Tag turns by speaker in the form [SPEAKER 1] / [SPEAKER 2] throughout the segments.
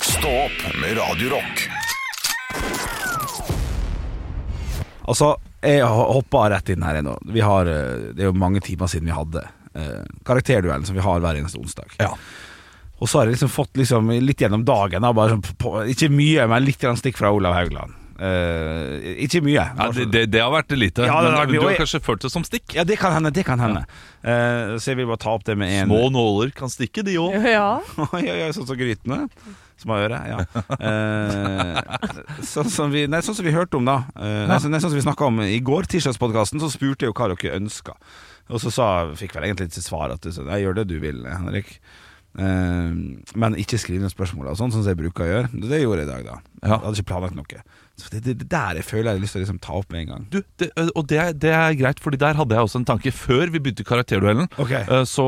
[SPEAKER 1] Stå opp med Radio Rock.
[SPEAKER 2] Altså, jeg hoppa rett inn her ennå. Vi har, eh, det er jo mange timer siden vi hadde eh, karakterduellen som vi har hver eneste onsdag.
[SPEAKER 3] Ja.
[SPEAKER 2] Og så har jeg liksom fått liksom litt gjennom dagen, da, bare sånn på, ikke mye, men litt grann stikk fra Olav Haugland. Eh, ikke mye.
[SPEAKER 3] Ja, det, det, det har vært lite.
[SPEAKER 2] Ja, det har vært
[SPEAKER 3] men
[SPEAKER 2] mye,
[SPEAKER 3] du
[SPEAKER 2] og
[SPEAKER 3] har
[SPEAKER 2] jeg-
[SPEAKER 3] kanskje følt det som stikk?
[SPEAKER 2] Ja, det kan hende. det kan hende Eh, Så jeg vil bare ta opp det med en
[SPEAKER 3] Små nåler kan stikke, de òg.
[SPEAKER 4] Ja.
[SPEAKER 2] Oi, oi, oi, sånn som grytene Som har øre, ja Eh, sånn, som vi, nei, sånn som vi hørte om da eh, nei, så- nei, Sånn som vi snakket om i går Tirsdagspodcasten, så spurte jeg jo hva dere ønsket Og så sa, fikk vel egentlig til svar At det sånn, jeg gjør det du vil, Henrik Eh, Men ikke skriv noen spørsmål og sånn, Sånn som jeg bruker å gjøre Det gjorde jeg i dag da
[SPEAKER 3] Ja.
[SPEAKER 2] Jeg hadde ikke planlagt noe Så det, det, det der jeg føler jeg har lyst til å liksom ta opp med en gang
[SPEAKER 3] Du, det, og det, er- det er greit, Fordi der hadde jeg også en tanke før vi begynte karakterduellen.
[SPEAKER 2] Ok.
[SPEAKER 3] Eh, Så,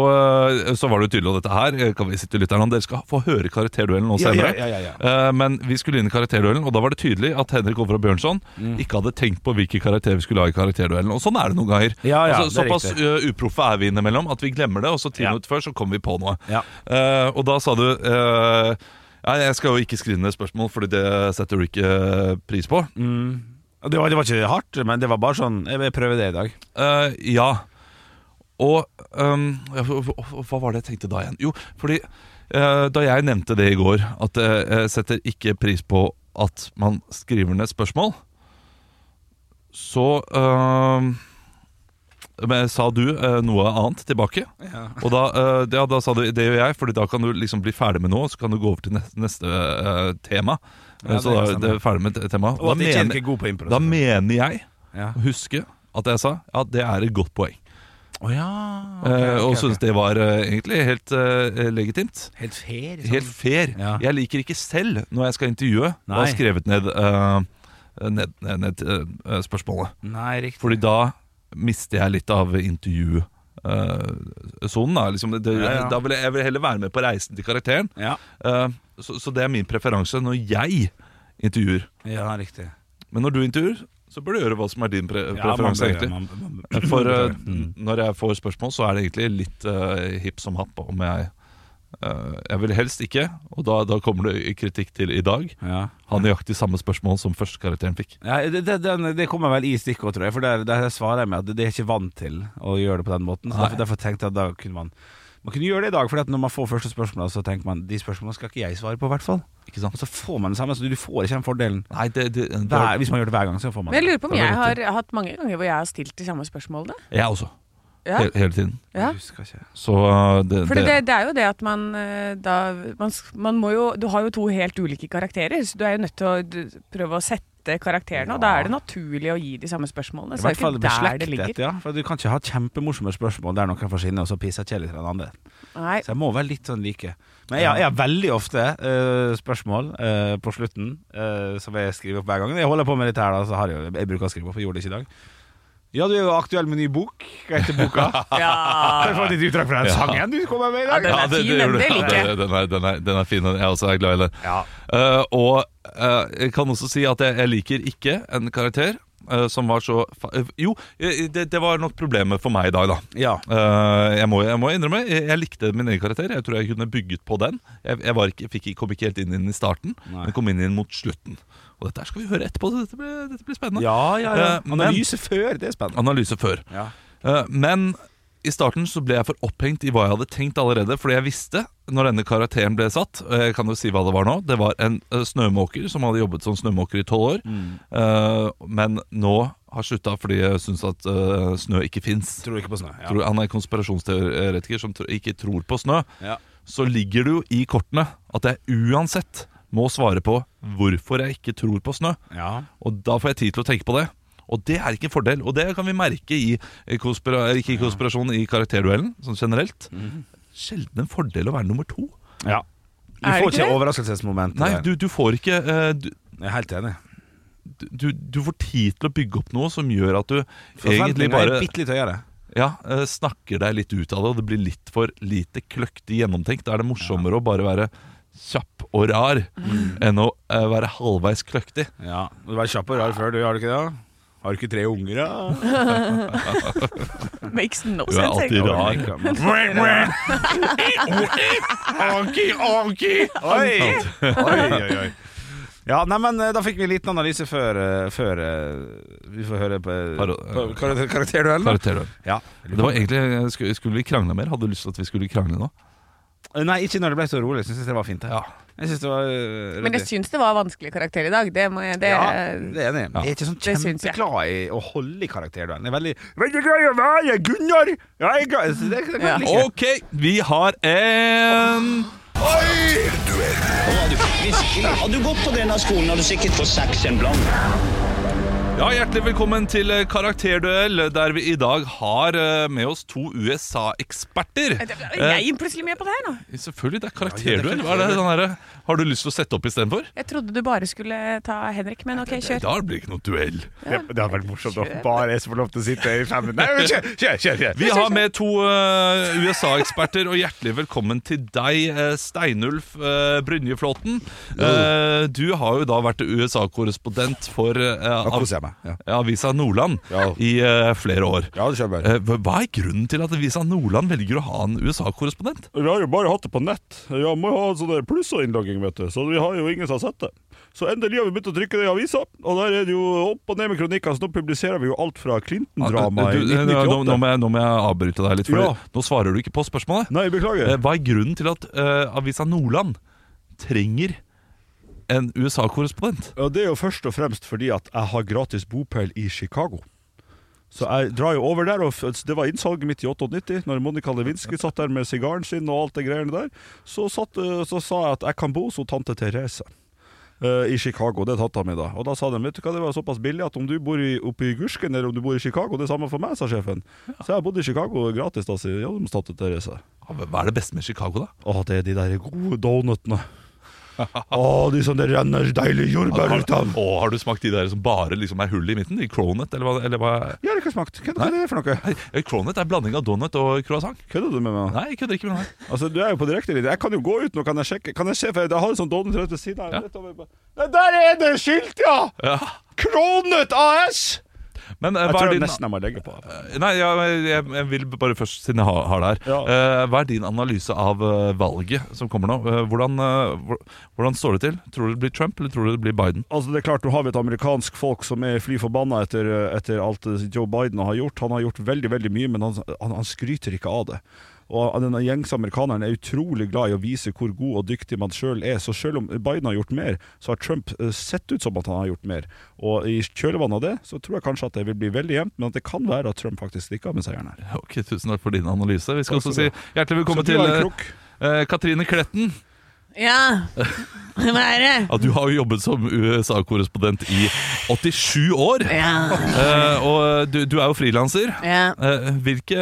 [SPEAKER 3] eh, så var det jo tydelig, og dette her eh, kan vi sitte lytterne om, dere skal få høre karakterduellen nå
[SPEAKER 2] Ja,
[SPEAKER 3] senere.
[SPEAKER 2] ja, ja, ja,
[SPEAKER 3] Eh, Men vi skulle inn i karakterduellen, og da var det tydelig at Henrik Over og Bjørnson
[SPEAKER 2] Mm.
[SPEAKER 3] ikke hadde tenkt på hvilke karakterer vi skulle ha i karakterduellen. Og sånn er det noen ganger.
[SPEAKER 2] Ja, ja, det er
[SPEAKER 3] såpass eh, uproffe er vi innimellom at vi glemmer det, og så ti
[SPEAKER 2] Ja.
[SPEAKER 3] minutter før så kommer vi på noe.
[SPEAKER 2] Ja.
[SPEAKER 3] Eh, og da sa du eh, Nei, jeg skal jo ikke skrive ned spørsmål, fordi det setter du ikke eh, pris på.
[SPEAKER 2] Og det var, det var ikke hardt, men det var bare sånn Jeg vil prøve det i dag
[SPEAKER 3] Eh, ja. Og ehm, ja, hva- hva hva var det jeg tenkte da igjen? Jo, fordi eh, da jeg nevnte det i går, at eh, jeg setter ikke pris på at man skriver ned spørsmål, så ehm, men sa du eh, noe annet tilbake?
[SPEAKER 2] Ja.
[SPEAKER 3] Og da, eh, ja, da sa du det gjør jeg, Fordi da kan du liksom bli ferdig med noe, og så kan du gå over til neste, neste eh, tema. Eh,
[SPEAKER 2] Ja, det
[SPEAKER 3] så da
[SPEAKER 2] kan
[SPEAKER 3] er det
[SPEAKER 2] stemme.
[SPEAKER 3] ferdig med temaet.
[SPEAKER 2] Og
[SPEAKER 3] Da,
[SPEAKER 2] at jeg ikke
[SPEAKER 3] mener-
[SPEAKER 2] er god på impro
[SPEAKER 3] da mener jeg
[SPEAKER 2] ja.
[SPEAKER 3] huske at jeg sa at det er et godt poeng.
[SPEAKER 2] Å ja.
[SPEAKER 3] Eh, og syntes det var eh, egentlig helt eh, legitimt.
[SPEAKER 2] Helt fair. liksom.
[SPEAKER 3] Helt fair.
[SPEAKER 2] Sånn. Ja.
[SPEAKER 3] Jeg liker ikke selv, når jeg skal intervjue, å ha
[SPEAKER 2] Nei.
[SPEAKER 3] skrevet ned, eh, ned, ned, ned eh, spørsmålet.
[SPEAKER 2] Nei, riktig.
[SPEAKER 3] Fordi da mister jeg litt av intervjusonen. da. liksom, det,
[SPEAKER 2] Ja, ja.
[SPEAKER 3] da vil jeg, jeg vil heller være med på reisen til karakteren.
[SPEAKER 2] Ja,
[SPEAKER 3] Eh, så, så det er min preferanse når jeg intervjuer.
[SPEAKER 2] ja riktig.
[SPEAKER 3] Men når du intervjuer, så bør du gjøre hva som er din pre
[SPEAKER 2] Ja, man
[SPEAKER 3] preferanse.
[SPEAKER 2] bør- Mm.
[SPEAKER 3] egentlig
[SPEAKER 2] man- man-
[SPEAKER 3] For eh, når jeg får spørsmål, så er det egentlig litt eh, hipp som happ om jeg eh, Jeg vil helst ikke, og da, da kommer det kritikk til i dag.
[SPEAKER 2] ja.
[SPEAKER 3] Har nøyaktig samme spørsmål som førstekarakteren fikk.
[SPEAKER 2] Ja, det, det, den- det kommer vel i stikkord, tror jeg. For der, der svarer jeg med at det er jeg ikke vant til å gjøre det på den måten. Så
[SPEAKER 3] Nei.
[SPEAKER 2] derfor, derfor tenkte jeg at da kunne man Man kunne gjøre det i dag, for når man får første spørsmål, så tenker man de spørsmålene skal ikke jeg svare på, i hvert fall.
[SPEAKER 3] Ikke sant?
[SPEAKER 2] Og så får man det samme, så du får ikke den fordelen.
[SPEAKER 3] Nei, det, det,
[SPEAKER 2] Hver, hvis man gjør det hver gang, så får man
[SPEAKER 4] Men jeg
[SPEAKER 2] det.
[SPEAKER 4] lurer på om jeg har hatt mange ganger hvor jeg har stilt de samme spørsmålene.
[SPEAKER 3] Jeg også.
[SPEAKER 4] Ja,
[SPEAKER 3] Hele, hele tiden.
[SPEAKER 4] ja.
[SPEAKER 2] Jeg husker ikke.
[SPEAKER 3] Så eh, det,
[SPEAKER 4] For det, det er jo det at man eh, da man, s- man må jo Du har jo to helt ulike karakterer, så du er jo nødt til å du, prøve å sette karakterene, og da er det naturlig å gi de samme spørsmålene. Så
[SPEAKER 2] I
[SPEAKER 4] det
[SPEAKER 2] hvert
[SPEAKER 4] er jo
[SPEAKER 2] fall
[SPEAKER 4] ikke der det ligger.
[SPEAKER 2] beslektet, ja. For du kan ikke ha kjempemorsomme spørsmål der noen får skinne, og så pisser kjedelig til den andre.
[SPEAKER 4] Nei.
[SPEAKER 2] Så jeg må være litt sånn like. Men jeg, jeg har veldig ofte eh, spørsmål eh, på slutten eh, som jeg skriver opp hver gang. Jeg holder på med dette her, da, så har jeg, jo- jeg bruker å skrive opp. Jeg gjorde det ikke i dag. Ja, du er jo aktuell med ny bok. Hva heter boka?
[SPEAKER 4] Ja.
[SPEAKER 2] Har du fått et utdrag fra den
[SPEAKER 3] Ja.
[SPEAKER 2] sangen du kommer med i dag?
[SPEAKER 4] den er
[SPEAKER 3] Ja,
[SPEAKER 4] fin, den.
[SPEAKER 3] gjorde du.
[SPEAKER 4] Det liker jeg.
[SPEAKER 3] Ja, Den er, den, er, den er fin, den. Jeg også er glad i den.
[SPEAKER 2] Ja.
[SPEAKER 3] Eh, og eh, jeg kan også si at jeg, jeg liker ikke en karakter eh, som var så fa eh, Jo, eh, det, det var nok problemet for meg i dag, da.
[SPEAKER 2] Ja.
[SPEAKER 3] Eh, jeg, må, jeg må innrømme, jeg, jeg likte min egen karakter. Jeg tror jeg kunne bygget på den. Jeg, jeg var ikke, fikk, ikke- kom ikke helt inn, inn i starten,
[SPEAKER 2] Nei.
[SPEAKER 3] men kom inn, inn mot slutten. Og dette her skal vi høre etterpå, så dette blir, dette blir spennende.
[SPEAKER 2] ja, ja, ja.
[SPEAKER 3] Eh, men-
[SPEAKER 2] Analyse før, det er spennende.
[SPEAKER 3] Analyse før.
[SPEAKER 2] Ja.
[SPEAKER 3] Eh, men i starten så ble jeg for opphengt i hva jeg hadde tenkt allerede, fordi jeg visste når denne karakteren ble satt og Jeg kan jo si hva det var nå. Det var en eh, snømåker som hadde jobbet som snømåker i tolv år,
[SPEAKER 2] Mm.
[SPEAKER 3] eh, men nå har slutta fordi jeg syns at eh, snø ikke fins.
[SPEAKER 2] Tror ikke på snø. Ja.
[SPEAKER 3] Tror- Han er konspirasjonsteoretiker som tro- ikke tror på snø.
[SPEAKER 2] Ja.
[SPEAKER 3] Så ligger det jo i kortene at jeg uansett må svare på hvorfor jeg ikke tror på snø.
[SPEAKER 2] Ja.
[SPEAKER 3] Og da får jeg tid til å tenke på det. Og det er ikke en fordel, og det kan vi merke i i konspira ikke i konspirasjon i karakterduellen sånn generelt. Sjelden en fordel å være nummer to.
[SPEAKER 2] ja. Du
[SPEAKER 4] Er det
[SPEAKER 2] får
[SPEAKER 4] ikke
[SPEAKER 2] ikke
[SPEAKER 4] det?
[SPEAKER 2] overraskelsesmomentet.
[SPEAKER 3] Nei,
[SPEAKER 2] der.
[SPEAKER 3] du, du får ikke eh, du,
[SPEAKER 2] Jeg er helt enig.
[SPEAKER 3] du, du får tid til å bygge opp noe som gjør at du egentlig
[SPEAKER 2] Forventningene
[SPEAKER 3] bare
[SPEAKER 2] er bitte litt høyere.
[SPEAKER 3] ja, eh, snakker deg litt ut av det, og det blir litt for lite kløktig gjennomtenkt. Da er det morsommere å bare være kjapp og rar enn å eh, være halvveis kløktig.
[SPEAKER 2] Ja. Du var kjapp og rar før, du, har du ikke det? Har du ikke tre unger, da?
[SPEAKER 5] Makes no
[SPEAKER 3] Du er
[SPEAKER 5] sense.
[SPEAKER 3] alltid rar.
[SPEAKER 2] Anki, anki! Oi, oi, oi. oi. Ja, nei, men eh, Da fikk vi en liten analyse før, eh, før eh, vi får høre på,
[SPEAKER 3] Har-
[SPEAKER 2] på karakter- karakterduellen. da.
[SPEAKER 3] Karakterduell.
[SPEAKER 2] Ja.
[SPEAKER 3] Det var egentlig, eh, skulle, skulle vi krangle mer? Hadde du lyst til at vi skulle krangle nå?
[SPEAKER 2] Eh, Nei, ikke når det ble så rolig. Jeg syns det var fint. jeg.
[SPEAKER 3] Ja.
[SPEAKER 2] Jeg synes det var eh,
[SPEAKER 5] Men jeg
[SPEAKER 2] ryddig.
[SPEAKER 5] syns det var vanskelig karakter i dag. Det må jeg, det,
[SPEAKER 2] ja, det er enig.
[SPEAKER 3] Ja.
[SPEAKER 2] Jeg er ikke sånn
[SPEAKER 5] Det syns jeg.
[SPEAKER 2] kjempeglad i å holde i karakterduellen. Jeg er veldig Veldig glad i å være Gunnar! Ja, jeg er glad så det, det kan jeg like.
[SPEAKER 3] Ok, vi har en
[SPEAKER 6] Hadde du gått på denne skolen, hadde du sikkert fått seks en blank.
[SPEAKER 3] Ja, Hjertelig velkommen til eh, Karakterduell, der vi i dag har eh, med oss to USA-eksperter.
[SPEAKER 5] Jeg er plutselig med på det her nå.
[SPEAKER 3] Eh, Selvfølgelig, det er karakterduell. Hva er det den herre- Har du lyst til å sette opp istedenfor?
[SPEAKER 5] Jeg trodde du bare skulle ta Henrik, men ok, kjør.
[SPEAKER 3] Da blir det ikke noe duell.
[SPEAKER 2] Det, det hadde vært morsomt om bare jeg som får lov til å sitte i fem minutter. Nei, Kjør, kjør, kjør! kjør.
[SPEAKER 3] Vi har med to eh, USA-eksperter, og hjertelig velkommen til deg, eh, Steinulf eh, Brynjeflåten. Eh, du har jo da vært USA-korrespondent for eh,
[SPEAKER 2] Da
[SPEAKER 3] av,
[SPEAKER 2] koser jeg meg. Ja,
[SPEAKER 3] Avisa Nordland
[SPEAKER 2] Ja.
[SPEAKER 3] i eh, flere år.
[SPEAKER 2] ja det skjønner
[SPEAKER 3] Eh, hva hva er grunnen til at Avisa Nordland velger å ha en USA-korrespondent?
[SPEAKER 7] Vi har jo bare hatt det på nett. Ja, må jo ha sånne plusserinnlogging, vet du. Så vi har jo ingen som har sett det. Så endelig har vi begynt å trykke det i avisa, og der er det jo opp og ned med kronikker. Så nå publiserer vi jo alt fra Clinton-dramaet i
[SPEAKER 3] Du, eh, Nå, nå,
[SPEAKER 7] 1998.
[SPEAKER 3] må jeg- nå må jeg avbryte deg litt, for
[SPEAKER 7] Ja.
[SPEAKER 3] nå svarer du ikke på spørsmålet.
[SPEAKER 7] Nei,
[SPEAKER 3] Eh,
[SPEAKER 7] beklager.
[SPEAKER 3] Hva er grunnen til at eh, Avisa Nordland trenger en USA-korrespondent?
[SPEAKER 7] Ja, det er jo først og fremst fordi at jeg har gratis bopel i Chicago. Så jeg drar jo over der, og f- det var innsalget mitt i 98, når Monica Lewinsky satt der med sigaren sin og alt det greiene der. Så, satt, eh, så sa jeg at jeg kan bo hos tante Therese. eh, I Chicago, det er tanta mi da. Og da sa de vet du hva, det var såpass billig at om du bor i, oppe i Gursken eller om du bor i Chicago, det er samme for meg, sa sjefen. Så jeg har bodd i Chicago gratis da, sier jeg, hos tante Therese.
[SPEAKER 3] Ja, men Ah, Hva er det beste med Chicago, da?
[SPEAKER 7] Å, det er de der gode donutene. Å, de som det renner deilig jordbær ut av.
[SPEAKER 3] Å, har du smakt de der som bare liksom er hull i midten? De Cronet, eller hva? Eller hva?
[SPEAKER 7] Jeg har ikke smakt. Hva hva er det for noe?
[SPEAKER 3] Nei, Cronet er blanding av donut og croissant.
[SPEAKER 7] Kødder du med meg?
[SPEAKER 3] Nei, jeg kødder ikke med det. her.
[SPEAKER 7] Altså, Du er jo på direktelinje. Jeg kan jo gå ut nå, kan jeg sjekke? Kan jeg se, for jeg har en sånn donut rett ved siden av.
[SPEAKER 3] Ja.
[SPEAKER 7] rett over- Nei, Der er det skilt, ja!
[SPEAKER 3] Ja.
[SPEAKER 7] Kronet AS!
[SPEAKER 3] Men eh,
[SPEAKER 7] Jeg
[SPEAKER 3] hva
[SPEAKER 7] tror
[SPEAKER 3] er
[SPEAKER 7] jeg
[SPEAKER 3] din
[SPEAKER 7] nesten jeg må legge på.
[SPEAKER 3] Nei, ja, jeg, jeg vil bare først, siden jeg har, har det her eh, Hva er din analyse av eh, valget som kommer nå? Eh, hvordan, eh, hvor- hvordan står det til? Tror du det blir Trump, eller tror du det blir Biden?
[SPEAKER 7] Altså, det er klart, Nå har vi et amerikansk folk som er fly forbanna etter, etter alt det Joe Biden har gjort. Han har gjort veldig veldig mye, men han, han, han skryter ikke av det. Og denne gjengs amerikaneren er utrolig glad i å vise hvor god og dyktig man sjøl er. Så sjøl om Biden har gjort mer, så har Trump eh, sett ut som at han har gjort mer. Og i kjølvannet av det, så tror jeg kanskje at det vil bli veldig jevnt, men at det kan være at Trump faktisk stikker av med seieren her.
[SPEAKER 3] Ok, Tusen takk for din analyse. Vi skal
[SPEAKER 7] Takk skal
[SPEAKER 3] også si
[SPEAKER 7] du
[SPEAKER 3] hjertelig velkommen
[SPEAKER 7] Så du
[SPEAKER 3] til
[SPEAKER 7] har en
[SPEAKER 3] eh,
[SPEAKER 7] krok.
[SPEAKER 3] eh, Katrine Kletten.
[SPEAKER 5] Ja, hva er det?
[SPEAKER 3] Ja, du har jo jobbet som USA-korrespondent i 87 år.
[SPEAKER 5] Ja,
[SPEAKER 3] Eh, og du, du er jo frilanser.
[SPEAKER 5] ja.
[SPEAKER 3] Eh, hvilke,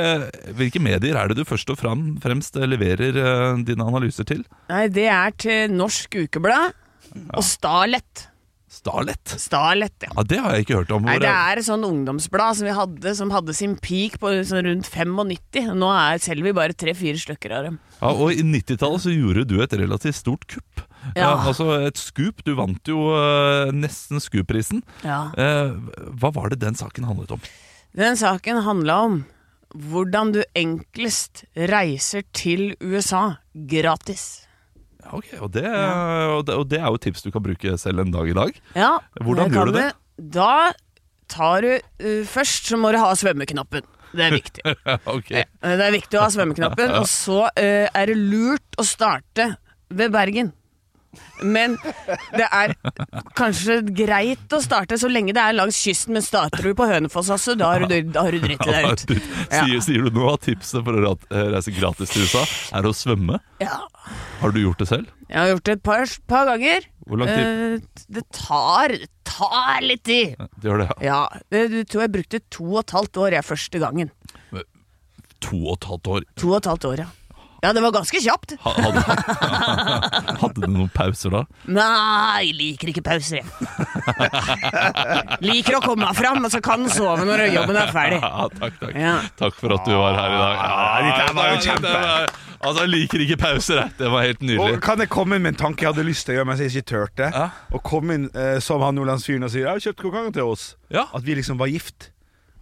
[SPEAKER 3] hvilke medier er det du først og fram, fremst leverer eh, dine analyser til?
[SPEAKER 5] Nei, det er til Norsk Ukeblad og Starlett.
[SPEAKER 3] Starlett?
[SPEAKER 5] Starlett, ja.
[SPEAKER 3] Ja, det har jeg ikke hørt om.
[SPEAKER 5] Nei,
[SPEAKER 3] Hvor
[SPEAKER 5] det
[SPEAKER 3] er-
[SPEAKER 5] er et sånn ungdomsblad som vi hadde, som hadde sin peak på sånn rundt 95. Nå er selv vi bare tre-fire stykker av dem.
[SPEAKER 3] Ja, og i 90-tallet så gjorde du et relativt stort kupp.
[SPEAKER 5] Ja.
[SPEAKER 3] Eh, altså et skup. Du vant jo eh, nesten Skup-prisen.
[SPEAKER 5] Ja.
[SPEAKER 3] Eh, hva var det den saken handlet om?
[SPEAKER 5] Den saken handla om hvordan du enklest reiser til USA gratis.
[SPEAKER 3] Ja, ok, og det, og, det, og det er jo et tips du kan bruke selv en dag i dag.
[SPEAKER 5] Ja,
[SPEAKER 3] Hvordan
[SPEAKER 5] det
[SPEAKER 3] gjør
[SPEAKER 5] kan
[SPEAKER 3] du det?
[SPEAKER 5] Da tar du eh, Først så må du ha svømmeknappen. Det er viktig.
[SPEAKER 3] ok.
[SPEAKER 5] Eh, Det er viktig å ha svømmeknappen. Og så eh, er det lurt å starte ved Bergen. Men det er kanskje greit å starte så lenge det er langs kysten, men starter du på Hønefoss også, da har du, da har du dritt deg ut.
[SPEAKER 3] Du, sier, sier du nå at tipset for å ra- eh, reise gratis til USA er å svømme?
[SPEAKER 5] Ja.
[SPEAKER 3] Har du gjort det selv?
[SPEAKER 5] Jeg har gjort det et par, par ganger.
[SPEAKER 3] Hvor lang tid?
[SPEAKER 5] Eh, det tar, det tar litt tid.
[SPEAKER 3] Du gjør det, ja.
[SPEAKER 5] Ja, det, det tror jeg brukte to og et halvt år jeg første gangen.
[SPEAKER 3] To og et halvt år.
[SPEAKER 5] To og et halvt år, ja. Ja, det var ganske kjapt.
[SPEAKER 3] Ha- Hadde, hadde du noen pauser da?
[SPEAKER 5] Nei, liker ikke pauser, jeg. liker å komme meg fram, og så kan sove når jobben er ferdig.
[SPEAKER 3] Ja, takk, takk.
[SPEAKER 5] Ja.
[SPEAKER 3] Takk for at du var her i dag.
[SPEAKER 2] dette var jo kjempe.
[SPEAKER 3] dette var- Altså, jeg liker ikke pauser, jeg. Det var helt nydelig.
[SPEAKER 2] Og kan jeg komme inn med en tanke jeg hadde lyst til å gjøre, men jeg ikke turte?
[SPEAKER 3] Ja.
[SPEAKER 2] Og komme inn eh, som han nordlandsfyren og sier 'Jeg har kjøpt kokangen til oss'.
[SPEAKER 3] Ja.
[SPEAKER 2] At vi liksom var gift.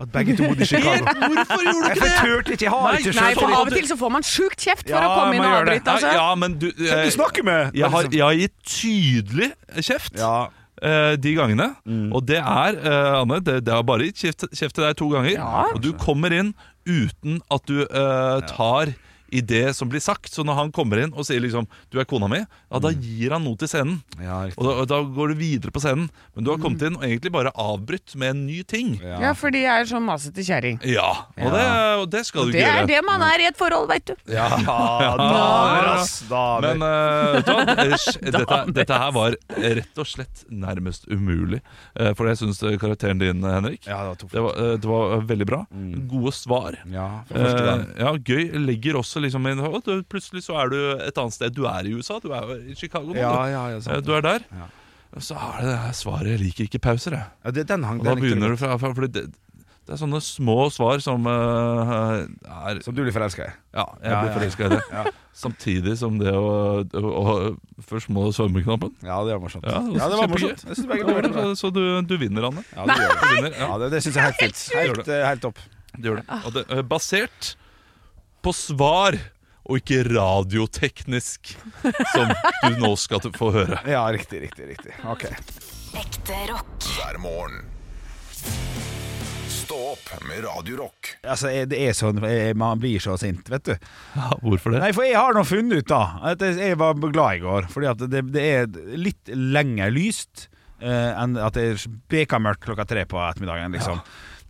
[SPEAKER 2] At begge to bodde i Chicago.
[SPEAKER 3] Hvorfor gjorde du
[SPEAKER 2] Jeg turte ikke, jeg har
[SPEAKER 3] Nei,
[SPEAKER 4] Nei,
[SPEAKER 2] ikke skjønt
[SPEAKER 4] for
[SPEAKER 2] det.
[SPEAKER 4] av og til så får man sjukt kjeft for
[SPEAKER 2] Ja,
[SPEAKER 4] å komme inn og
[SPEAKER 2] man gjør det.
[SPEAKER 4] avbryte. Altså.
[SPEAKER 3] Ja, men du,
[SPEAKER 2] Hvem
[SPEAKER 3] eh,
[SPEAKER 2] du snakker med? liksom.
[SPEAKER 3] jeg, har, jeg har gitt tydelig kjeft
[SPEAKER 2] Ja.
[SPEAKER 3] eh, de gangene. Og det er, eh, Anne, det, det har bare gitt kjeft, kjeft til deg to ganger. Og du kommer inn uten at du eh, tar i det som blir sagt. Så når han kommer inn og sier liksom 'du er kona mi', ja, da gir han noe til scenen.
[SPEAKER 2] Ja, riktig.
[SPEAKER 3] og, da, og da går du videre på scenen. Men du har
[SPEAKER 2] Mm.
[SPEAKER 3] kommet inn og egentlig bare avbrutt med en ny ting. Ja,
[SPEAKER 4] Ja, for de er sånn masete kjerring.
[SPEAKER 3] og, Det, og det skal du
[SPEAKER 4] Det
[SPEAKER 3] ikke
[SPEAKER 4] er
[SPEAKER 3] gjøre.
[SPEAKER 4] det man er i et forhold, veit du.
[SPEAKER 3] Ah,
[SPEAKER 2] Ja, damer, ass. Damer.
[SPEAKER 3] Men eh, vet du hva? Eh, sj- dette, dette her var rett og slett nærmest umulig. eh, for jeg syns karakteren din, eh, Henrik,
[SPEAKER 2] ja, det var to.
[SPEAKER 3] det var, eh, det var eh, veldig bra. Gode svar.
[SPEAKER 2] Ja, for første gang.
[SPEAKER 3] Eh, ja, gøy. Legger også liksom inn «Å, du, Plutselig så er du et annet sted. Du er i USA. Du er jo i Chicago nå.
[SPEAKER 2] Ja,
[SPEAKER 3] du.
[SPEAKER 2] ja, sånn. ja,
[SPEAKER 3] Eh,
[SPEAKER 2] sant.
[SPEAKER 3] du er der.
[SPEAKER 2] Ja.
[SPEAKER 3] Og Så er det det her svaret 'jeg liker ikke pauser', jeg.
[SPEAKER 2] ja det, den hang
[SPEAKER 3] Og da begynner du fra, fra fordi det, det er sånne små svar som eh, er
[SPEAKER 2] Som du blir forelska i.
[SPEAKER 3] ja, jeg
[SPEAKER 2] Ja,
[SPEAKER 3] blir
[SPEAKER 2] ja.
[SPEAKER 3] forelska i det. Samtidig som det å, å, å Først må du svømme knappen.
[SPEAKER 2] Ja, det var morsomt.
[SPEAKER 3] Ja, det var
[SPEAKER 2] Ja, det var
[SPEAKER 3] kjempegøy.
[SPEAKER 2] morsomt. Jeg synes begge ble veldig bra.
[SPEAKER 3] Så, så du, du vinner, Anne.
[SPEAKER 2] Ja, det gjør
[SPEAKER 3] Du
[SPEAKER 2] det.
[SPEAKER 3] vinner,
[SPEAKER 2] Ja,
[SPEAKER 3] ja,
[SPEAKER 2] det, det syns jeg er helt fint. Helt, eh, helt topp.
[SPEAKER 3] du gjør
[SPEAKER 4] Ah.
[SPEAKER 3] det. Og det eh, basert på svar og ikke radioteknisk, som du nå skal t- få høre.
[SPEAKER 2] Ja, riktig, riktig. riktig Ok
[SPEAKER 8] Ekte rock.
[SPEAKER 1] hver morgen. Stå opp med Radio Rock.
[SPEAKER 2] Altså, jeg- det er sånn jeg, Man blir så sint, vet du.
[SPEAKER 3] Ja, hvorfor det?
[SPEAKER 2] Nei, for jeg har nå funnet ut, da. At jeg- jeg var glad i går. Fordi at det, det er litt lenger lyst eh, enn at det er bekamørkt klokka tre på ettermiddagen, liksom.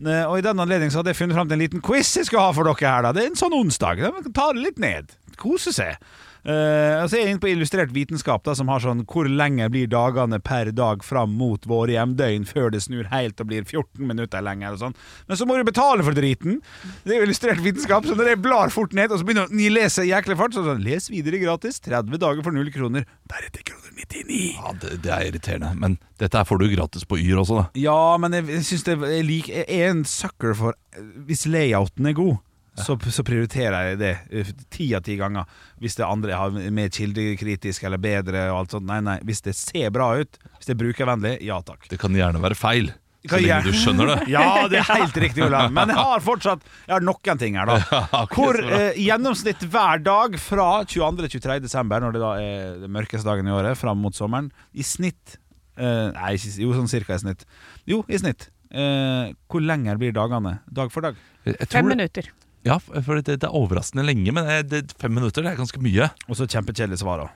[SPEAKER 2] Eh, Og i den anledning så hadde jeg funnet fram til en liten quiz jeg skulle ha for dere her. da Det er en sånn onsdag. Da man kan Ta det litt ned. Kose seg. Eh, og så er jeg inne på Illustrert vitenskap, da som har sånn 'Hvor lenge blir dagene per dag fram mot våre hjemdøgn før det snur helt og blir 14 minutter lenger?' og sånn. Men så må du betale for driten. Det er jo Illustrert vitenskap, så når jeg blar fort ned, og så begynner jeg å lese i jæklig fart, så sånn 'Les videre gratis. 30 dager for null kroner. Deretter kroner 99.'
[SPEAKER 3] Ja, det, det er irriterende. Men dette her får du gratis på Yr også, da.
[SPEAKER 2] Ja, men jeg, jeg syns det jeg, lik, jeg er en sucker for Hvis layouten er god, så, så prioriterer jeg det eh, ti av ti ganger. Hvis det andre har mer kildekritisk eller bedre og alt sånt. Nei, nei. Hvis det ser bra ut, hvis det er brukervennlig, ja takk.
[SPEAKER 3] Det kan gjerne være feil,
[SPEAKER 2] Kan
[SPEAKER 3] så lenge
[SPEAKER 2] gjerne-
[SPEAKER 3] du skjønner det.
[SPEAKER 2] Ja, det er helt riktig, Olav. Men jeg har fortsatt Jeg har noen ting her, da.
[SPEAKER 3] ok,
[SPEAKER 2] Hvor
[SPEAKER 3] så bra.
[SPEAKER 2] eh, gjennomsnitt hver dag fra 22. til 23. desember, når det da er den mørkeste dagen i året, fram mot sommeren, i snitt eh, Nei, ikke, jo, sånn cirka i snitt. Jo, i snitt. Eh, hvor lenger blir dagene dag for dag?
[SPEAKER 3] Jeg- jeg tror
[SPEAKER 4] Fem
[SPEAKER 3] det-
[SPEAKER 4] minutter.
[SPEAKER 3] Ja, for det, det er overraskende lenge, men eh, det, fem minutter det er ganske mye.
[SPEAKER 2] Og så kjempekjedelig svar òg.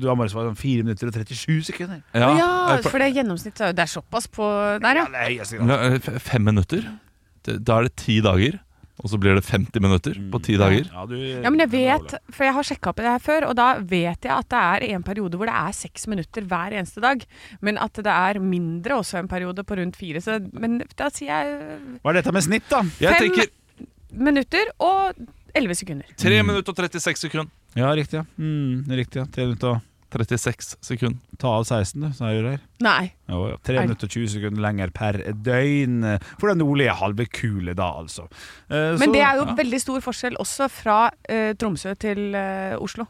[SPEAKER 2] Du har bare svart sånn 4 minutter og 37 sekunder.
[SPEAKER 4] Ja,
[SPEAKER 3] eh, for-
[SPEAKER 4] for det er gjennomsnitt. Det er såpass på der, ja.
[SPEAKER 2] det er høyeste grad.
[SPEAKER 3] Ja, eh, f- Fem minutter? Det- Da er det ti dager, og så blir det 50 minutter på ti dager.
[SPEAKER 2] Ja, du,
[SPEAKER 5] Ja, men jeg vet, for jeg har sjekka opp i det her før, og da vet jeg at det er en periode hvor det er seks minutter hver eneste dag. Men at det er mindre også en periode på rundt fire. Så, men da sier jeg
[SPEAKER 2] Hva er dette med snitt, da?
[SPEAKER 3] Jeg
[SPEAKER 5] Fem-
[SPEAKER 3] tenker
[SPEAKER 5] minutter og elleve sekunder.
[SPEAKER 3] 3 minutter og 36 sekund.
[SPEAKER 2] Ja, riktig. ja. Mm, riktig ja. 3 minutter og
[SPEAKER 3] 36 sekund.
[SPEAKER 2] Ta av 16, du, så er du der.
[SPEAKER 5] Nei.
[SPEAKER 2] Jo, ja. 3 minutter og 20 sekunder lenger per døgn for den nordlige halve kule, da altså. Eh,
[SPEAKER 5] Men
[SPEAKER 2] så-
[SPEAKER 5] det er jo veldig stor forskjell også fra eh, Tromsø til eh, Oslo.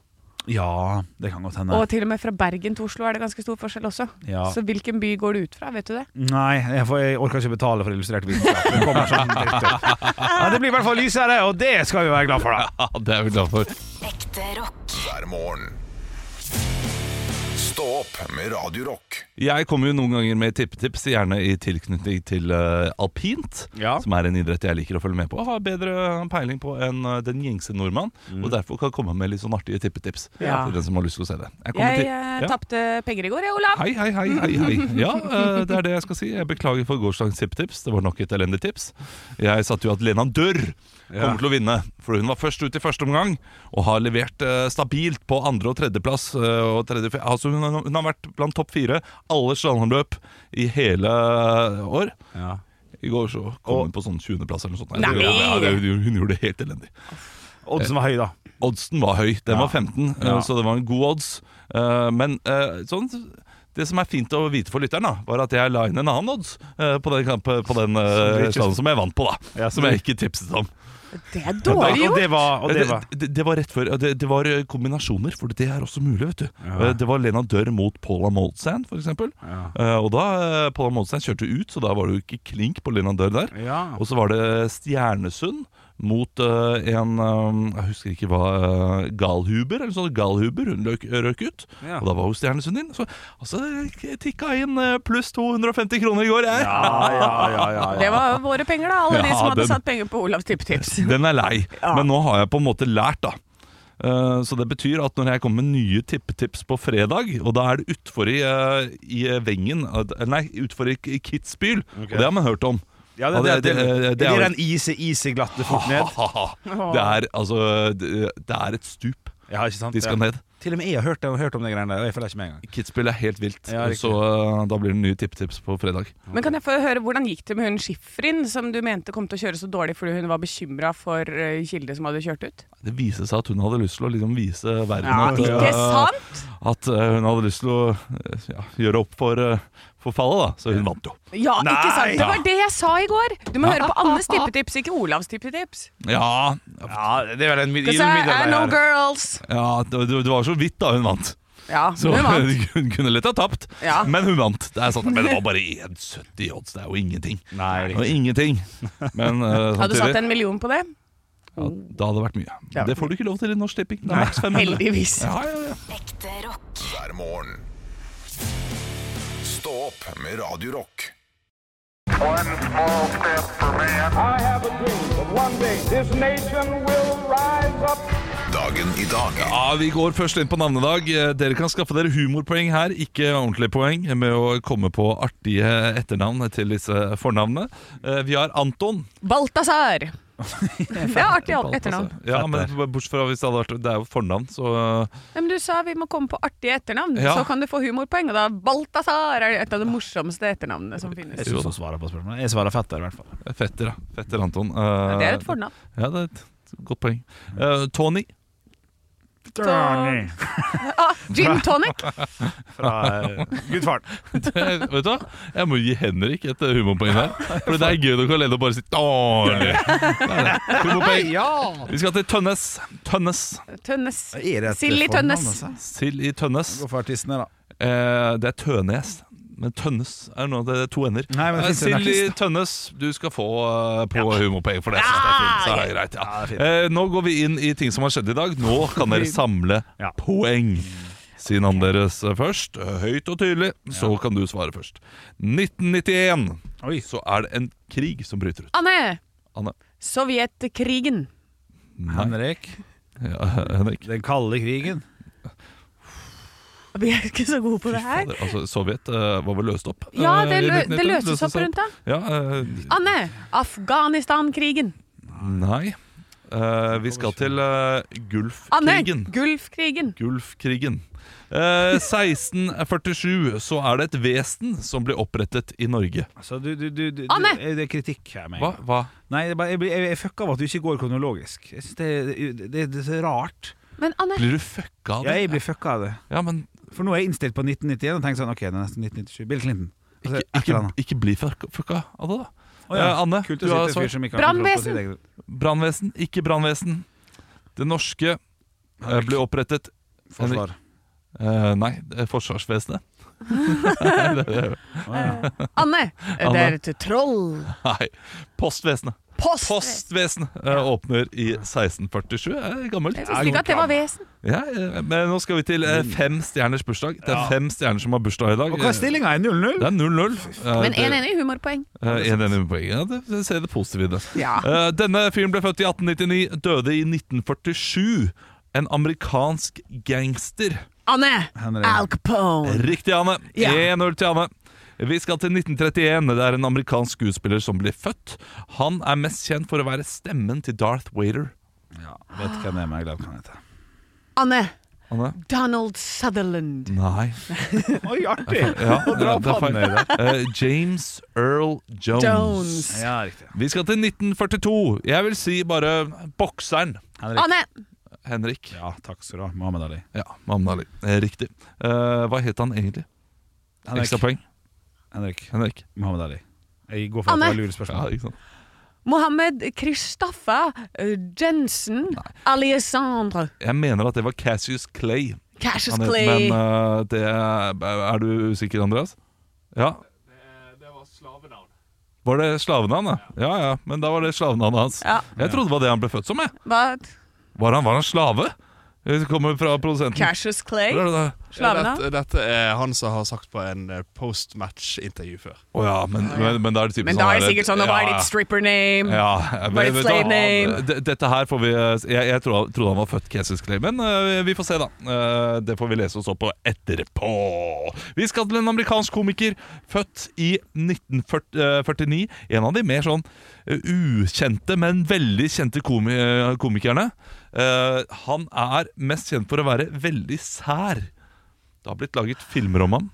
[SPEAKER 2] Ja, det kan godt hende.
[SPEAKER 5] Og til og med fra Bergen til Oslo er det ganske stor forskjell også.
[SPEAKER 2] ja.
[SPEAKER 5] Så hvilken by går du ut fra, vet du det?
[SPEAKER 2] Nei, jeg, får, jeg orker ikke betale for illustrert vitenskap. Det kommer sånn dritt opp. Ja, det blir i hvert fall lysere, og det skal vi være glad for, da.
[SPEAKER 3] Ja, det er vi glad for.
[SPEAKER 8] Ekte rock.
[SPEAKER 1] hver morgen. Stå opp med Radio Rock.
[SPEAKER 3] Jeg kommer jo noen ganger med tippetips, gjerne i tilknytning til eh, alpint.
[SPEAKER 2] Ja.
[SPEAKER 3] Som er en idrett jeg liker å følge med på og har bedre peiling på enn eh, den gjengse nordmann. Og derfor kan jeg komme med litt sånn artige tippetips.
[SPEAKER 5] Ja.
[SPEAKER 3] For den som har lyst til å se det. Jeg kommer
[SPEAKER 5] Jeg
[SPEAKER 3] til-
[SPEAKER 5] eh,
[SPEAKER 3] Ja.
[SPEAKER 5] tapte penger i går, jeg, Olav.
[SPEAKER 3] Hei, hei, hei, hei, hei. Ja, eh, det er det jeg skal si. Jeg beklager for gårsdagens tippetips. Det var nok et elendig tips. Jeg satte jo at Lena Dørr kommer til å vinne, for hun var først ut i første omgang og har levert eh, stabilt på andre- og tredjeplass. eh, og tredje, altså hun, har- hun har vært blant topp fire alle slalåmløp i hele eh, år.
[SPEAKER 2] Ja.
[SPEAKER 3] I går så kom
[SPEAKER 2] Og-
[SPEAKER 3] hun på sånn 20.-plass eller noe sånt. Nei, det- Ja, det, hun gjorde det helt elendig.
[SPEAKER 2] Oddsen var høy, da.
[SPEAKER 3] Oddsen var høy, den var 15, eh,
[SPEAKER 2] Ja.
[SPEAKER 3] så det var en god odds. Eh, Men eh, sånn, det som er fint å vite for lytteren, da, var at jeg la inn en annen odds eh, på den, kamp, på den
[SPEAKER 2] du
[SPEAKER 3] eh,
[SPEAKER 2] ikke-
[SPEAKER 3] slalåm som jeg vant på, da.
[SPEAKER 2] Ja, så
[SPEAKER 3] Som
[SPEAKER 2] du-
[SPEAKER 3] jeg ikke tipset om. Eh,
[SPEAKER 4] Det er
[SPEAKER 2] Og,
[SPEAKER 4] dårlig
[SPEAKER 2] og
[SPEAKER 4] gjort.
[SPEAKER 2] det var, og det var.
[SPEAKER 3] Det, det var rett før ja, det, det var eh, kombinasjoner, for det er også mulig, vet du. Eh, Det var Lena Dørr mot Paula Moldstein, for eksempel. Eh, Og da eh, Paula Moldstein kjørte ut, så da var det jo ikke klink på Lena Dørr der.
[SPEAKER 2] Ja.
[SPEAKER 3] Og så var det Stjernesund mot eh, en eh, Jeg husker ikke hva eh, Galhuber, eller sånn Galhuber. Hun løk, røk ut.
[SPEAKER 2] Ja.
[SPEAKER 3] Og da var jo Stjernesund inn. Så altså, jeg tikka inn eh, pluss 250 kroner i går, jeg.
[SPEAKER 2] Ja, ja, ja, ja,
[SPEAKER 5] Det var våre penger, da. Alle de
[SPEAKER 3] Ja,
[SPEAKER 5] som hadde
[SPEAKER 3] den-
[SPEAKER 5] satt penger på Olavs tippetips.
[SPEAKER 3] Den er lei, men nå har jeg på en måte lært da Eh, så det betyr at når jeg kommer med nye tippetips på fredag Og da er det utfor i, eh, i vengen eh, Nei, utfor i K- Kitzbühel Og det har man hørt om
[SPEAKER 2] ja det,
[SPEAKER 3] Og
[SPEAKER 2] det,
[SPEAKER 3] det-
[SPEAKER 2] det, det,
[SPEAKER 3] det- det er jo-
[SPEAKER 2] den ise, ise glatte fort ned.
[SPEAKER 3] Det er, altså, det, det er et stup
[SPEAKER 2] Ja, ikke sant?
[SPEAKER 3] De skal
[SPEAKER 2] Ja.
[SPEAKER 3] ned
[SPEAKER 2] Til og med jeg har hørt, jeg har hørt om de greiene der, og jeg følger ikke med engang.
[SPEAKER 3] Kitzbühel er helt vilt
[SPEAKER 2] Ja, riktig.
[SPEAKER 3] Så eh, da blir det nye tippetips på fredag
[SPEAKER 5] Men kan jeg få høre hvordan gikk det med hun Schifrin, som du mente kom til å kjøre så dårlig fordi hun var bekymra for eh, Kilde som hadde kjørt ut?
[SPEAKER 3] Det viser seg at hun hadde lyst til å liksom vise verden
[SPEAKER 5] Ja,
[SPEAKER 3] at,
[SPEAKER 5] ikke
[SPEAKER 3] eh,
[SPEAKER 5] sant?
[SPEAKER 3] at eh, hun hadde lyst til å eh, ja, gjøre opp for, eh, for fallet da Så hun vant jo
[SPEAKER 5] Ja, ikke sant? Det
[SPEAKER 3] Ja.
[SPEAKER 5] var det jeg sa i går! Du må høre på Annes tippetips, ikke Olavs tippetips.
[SPEAKER 3] Ja,
[SPEAKER 2] Ja, det er vel en mid-
[SPEAKER 5] Because I I know
[SPEAKER 2] middelvei her.
[SPEAKER 5] girls.
[SPEAKER 3] ja det, det det var så vidt da hun vant.
[SPEAKER 5] Ja,
[SPEAKER 3] Så
[SPEAKER 5] hun vant.
[SPEAKER 3] hun kunne lett ha tapt,
[SPEAKER 5] Ja.
[SPEAKER 3] men hun vant. Det er sant, men det var bare 1,70 i odds. Det er jo ingenting.
[SPEAKER 2] Nei,
[SPEAKER 3] Det
[SPEAKER 2] riktig.
[SPEAKER 3] var ingenting. Men eh,
[SPEAKER 5] Hadde du satt
[SPEAKER 3] samtidig
[SPEAKER 5] en million på det?
[SPEAKER 3] ja, Da hadde det vært mye.
[SPEAKER 5] Ja.
[SPEAKER 3] Det får du ikke lov til i Norsk Tipping. Det er maks 500.
[SPEAKER 5] Heldigvis.
[SPEAKER 3] Ja, ja, ja.
[SPEAKER 8] ekte rock,
[SPEAKER 1] hver morgen. Stå opp med Radio Rock.
[SPEAKER 9] I have a dream that one day this nation will rise up.
[SPEAKER 1] Dagen i dag
[SPEAKER 3] ja, Vi går først inn på navnedag. Eh, Dere kan skaffe dere humorpoeng her, ikke ordentlige poeng, med å komme på artige etternavn til disse fornavnene. Eh, Vi har Anton.
[SPEAKER 5] Balthazar. Det er artig etternavn.
[SPEAKER 3] Ja, men bortsett fra hvis det hadde vært Det er jo fornavn, så eh,
[SPEAKER 5] Ja, men du sa vi må komme på artige etternavn,
[SPEAKER 3] Ja.
[SPEAKER 5] så kan du få humorpoeng. Og da Balthazar er et av de morsomste etternavnene som finnes.
[SPEAKER 2] Jeg synes hun svarer på spørsmålet. Jeg svarer fetter, i hvert fall.
[SPEAKER 3] Fetter, da. Fetter Anton. Eh,
[SPEAKER 5] Det er et fornavn.
[SPEAKER 3] Ja, det er et godt poeng. Eh, Tony.
[SPEAKER 5] Tony. Ah, gin tonic.
[SPEAKER 2] Fra eh, gudfaren.
[SPEAKER 3] Det er- Vet du hva? Jeg må gi Henrik et eh, humorpoeng her. For det er gøy nok å lede og bare si Tony. Der, Humorpoeng. Vi skal til Tønnes. Tønnes.
[SPEAKER 5] Tønnes.
[SPEAKER 2] Er det et
[SPEAKER 5] Silje
[SPEAKER 2] fornavn,
[SPEAKER 5] Tønnes.
[SPEAKER 2] altså?
[SPEAKER 3] Sild i Tønnes.
[SPEAKER 2] Gå for artistene, da.
[SPEAKER 3] Eh, det er Tønes. Men Tønnes er noe av det er to ender.
[SPEAKER 2] Nei, men det
[SPEAKER 3] Eh,
[SPEAKER 2] finnes en
[SPEAKER 3] Sild i
[SPEAKER 2] artist,
[SPEAKER 3] Tønnes, du skal få eh, på humorpoeng for det.
[SPEAKER 2] Ja,
[SPEAKER 3] Så
[SPEAKER 5] Ah,
[SPEAKER 3] det er greit,
[SPEAKER 2] Ja,
[SPEAKER 3] ja.
[SPEAKER 2] det er fint.
[SPEAKER 3] Eh, nå går vi inn i ting som har skjedd i dag. Nå kan dere samle
[SPEAKER 2] Ja.
[SPEAKER 3] poeng. Si navnet deres eh, først, høyt og tydelig, så kan du svare først. 1991
[SPEAKER 2] Oi.
[SPEAKER 3] så er det en krig som bryter ut.
[SPEAKER 5] Anne.
[SPEAKER 3] Anne.
[SPEAKER 5] Sovjetkrigen.
[SPEAKER 3] Nei.
[SPEAKER 2] Henrik.
[SPEAKER 3] Ja, Henrik.
[SPEAKER 2] Den kalde krigen.
[SPEAKER 5] Vi er ikke så gode på det
[SPEAKER 3] Fader,
[SPEAKER 5] her.
[SPEAKER 3] Altså, Sovjet eh, var vel løst opp?
[SPEAKER 5] Ja,
[SPEAKER 3] eh,
[SPEAKER 5] det,
[SPEAKER 3] i
[SPEAKER 5] lø det
[SPEAKER 3] 1991.
[SPEAKER 5] løses opp rundt da.
[SPEAKER 3] Ja, eh,
[SPEAKER 5] Anne. Afghanistan-krigen.
[SPEAKER 3] nei. Eh, vi skal til eh,
[SPEAKER 5] Anne.
[SPEAKER 3] Gulfkrigen.
[SPEAKER 5] Gulfkrigen.
[SPEAKER 3] Gulfkrigen. Eh, 1647 så er det et vesen som blir opprettet i Norge.
[SPEAKER 2] Altså, du, du, du, du,
[SPEAKER 5] Anne!
[SPEAKER 2] du- Det er kritikk her. med en
[SPEAKER 3] Hva?
[SPEAKER 2] gang.
[SPEAKER 3] Hva?
[SPEAKER 2] Nei, det er bare- jeg, blir- jeg, jeg fucker av at du ikke går kronologisk. Jeg synes det, er- det, det, det er så rart.
[SPEAKER 5] Men Anne,
[SPEAKER 3] Blir du fucka av
[SPEAKER 2] Ja,
[SPEAKER 3] det?
[SPEAKER 2] jeg blir fucka av det.
[SPEAKER 3] Ja, men
[SPEAKER 2] For nå er jeg innstilt på 1991 og tenker sånn Ok, det er nesten 1997. Bill Clinton. Altså,
[SPEAKER 3] Ikke,
[SPEAKER 2] et eller
[SPEAKER 3] ikke,
[SPEAKER 2] annet.
[SPEAKER 3] ikke bli fucka fucka av det, da.
[SPEAKER 2] Å ja,
[SPEAKER 3] Eh, Anne,
[SPEAKER 2] Kult
[SPEAKER 3] du
[SPEAKER 2] å
[SPEAKER 3] har
[SPEAKER 2] sitte en
[SPEAKER 3] svar.
[SPEAKER 2] fyr som ikke har kontroll på
[SPEAKER 5] Brannvesen!
[SPEAKER 2] sitt eget
[SPEAKER 3] Brannvesen, ikke brannvesen. Det norske eh, ble opprettet
[SPEAKER 2] forsvar.
[SPEAKER 3] eh, Nei, det er forsvarsvesenet.
[SPEAKER 5] Anne. Det er
[SPEAKER 3] Anne.
[SPEAKER 5] et troll.
[SPEAKER 3] Nei, postvesenet.
[SPEAKER 5] Post.
[SPEAKER 3] Postvesenet eh, åpner i 1647. Eh, gammelt.
[SPEAKER 5] Jeg visste ikke at det var vesen.
[SPEAKER 3] Ja, eh, men nå skal vi til eh, fem stjerners bursdag. Det er fem stjerner som har bursdag i dag.
[SPEAKER 2] Og hva er
[SPEAKER 3] Eh,
[SPEAKER 2] stillinga? Er 0-0?
[SPEAKER 3] Det er 0-0. Eh,
[SPEAKER 5] Men
[SPEAKER 3] det-
[SPEAKER 5] 1-1 i humorpoeng.
[SPEAKER 3] Eh, En enig med poenget. Ja, det, det ser det positive i det.
[SPEAKER 5] Ja.
[SPEAKER 3] Eh, denne fyren ble født i 1899, døde i 1947. En amerikansk gangster.
[SPEAKER 5] Anne.
[SPEAKER 2] Henrik.
[SPEAKER 5] Al Capone.
[SPEAKER 3] Riktig, Anne.
[SPEAKER 5] Ja.
[SPEAKER 3] 1-0 til Anne. Vi skal til 1931. Det er en amerikansk skuespiller som blir født. Han er mest kjent for å være stemmen til Darth Wader.
[SPEAKER 2] Ja, vet hvem det er, men jeg glemmer hva han heter.
[SPEAKER 5] Anne.
[SPEAKER 3] Anne?
[SPEAKER 5] Donald Sutherland.
[SPEAKER 3] Nei.
[SPEAKER 2] Oi, artig!
[SPEAKER 3] Ja,
[SPEAKER 2] dra
[SPEAKER 3] det er
[SPEAKER 2] opp
[SPEAKER 3] feil. Eh, James Earl Jones.
[SPEAKER 5] Jones.
[SPEAKER 2] Ja, riktig.
[SPEAKER 3] Vi skal til 1942. Jeg vil si bare bokseren
[SPEAKER 2] Henrik.
[SPEAKER 5] Anne.
[SPEAKER 3] Henrik.
[SPEAKER 2] Ja, takk skal du ha. Mohammed Ali.
[SPEAKER 3] Ja, Mamma Ali. Eh, Riktig. Eh, hva het han egentlig?
[SPEAKER 2] Henrik.
[SPEAKER 3] Ekstrapoeng.
[SPEAKER 2] Henrik.
[SPEAKER 3] Henrik.
[SPEAKER 2] Mohammed Ali. Jeg går for at
[SPEAKER 5] Anne.
[SPEAKER 2] det var lure
[SPEAKER 3] Ja,
[SPEAKER 2] spørsmål.
[SPEAKER 3] ikke sant.
[SPEAKER 5] Mohammed Kristaffa eh, Jensen Alessandro.
[SPEAKER 3] Jeg mener at det var Cassius Clay.
[SPEAKER 4] Cassius
[SPEAKER 3] han het,
[SPEAKER 4] Clay.
[SPEAKER 3] Men eh, det Er du usikker, Andreas? Ja? Det var slavenavn. Var det slavenavn, da? Ja ja, men da var det slavenavnet hans.
[SPEAKER 5] Ja.
[SPEAKER 3] Jeg trodde det var det han ble født som, jeg.
[SPEAKER 5] Hva?
[SPEAKER 3] Var han, var han slave? Det kommer fra produsenten.
[SPEAKER 4] Cassius Clay.
[SPEAKER 3] Hvor er det da?
[SPEAKER 5] Slavene?
[SPEAKER 10] dette er han som har sagt på en eh, postmatch-intervju før.
[SPEAKER 3] Å ja, men, men, men da er det typisk
[SPEAKER 4] Men da er
[SPEAKER 3] her-
[SPEAKER 4] det sikkert sånn, nå var det
[SPEAKER 3] ja,
[SPEAKER 4] ditt stripper
[SPEAKER 5] Mm.
[SPEAKER 4] name.
[SPEAKER 3] ja,
[SPEAKER 4] Var det
[SPEAKER 3] vet du
[SPEAKER 4] slave
[SPEAKER 3] hva?
[SPEAKER 4] name?
[SPEAKER 3] D- Dette her får vi Jeg, jeg trodde, han- trodde han var født Cassius Clay, men eh, vi får se, da. Eh, det får vi lese oss opp på etterpå. Vi skal til en amerikansk komiker født i 1949. En av de mer sånn eh, ukjente, men veldig kjente komi eh, komikerne. Eh, han er mest kjent for å være veldig sær. Det har blitt laget filmer om ham.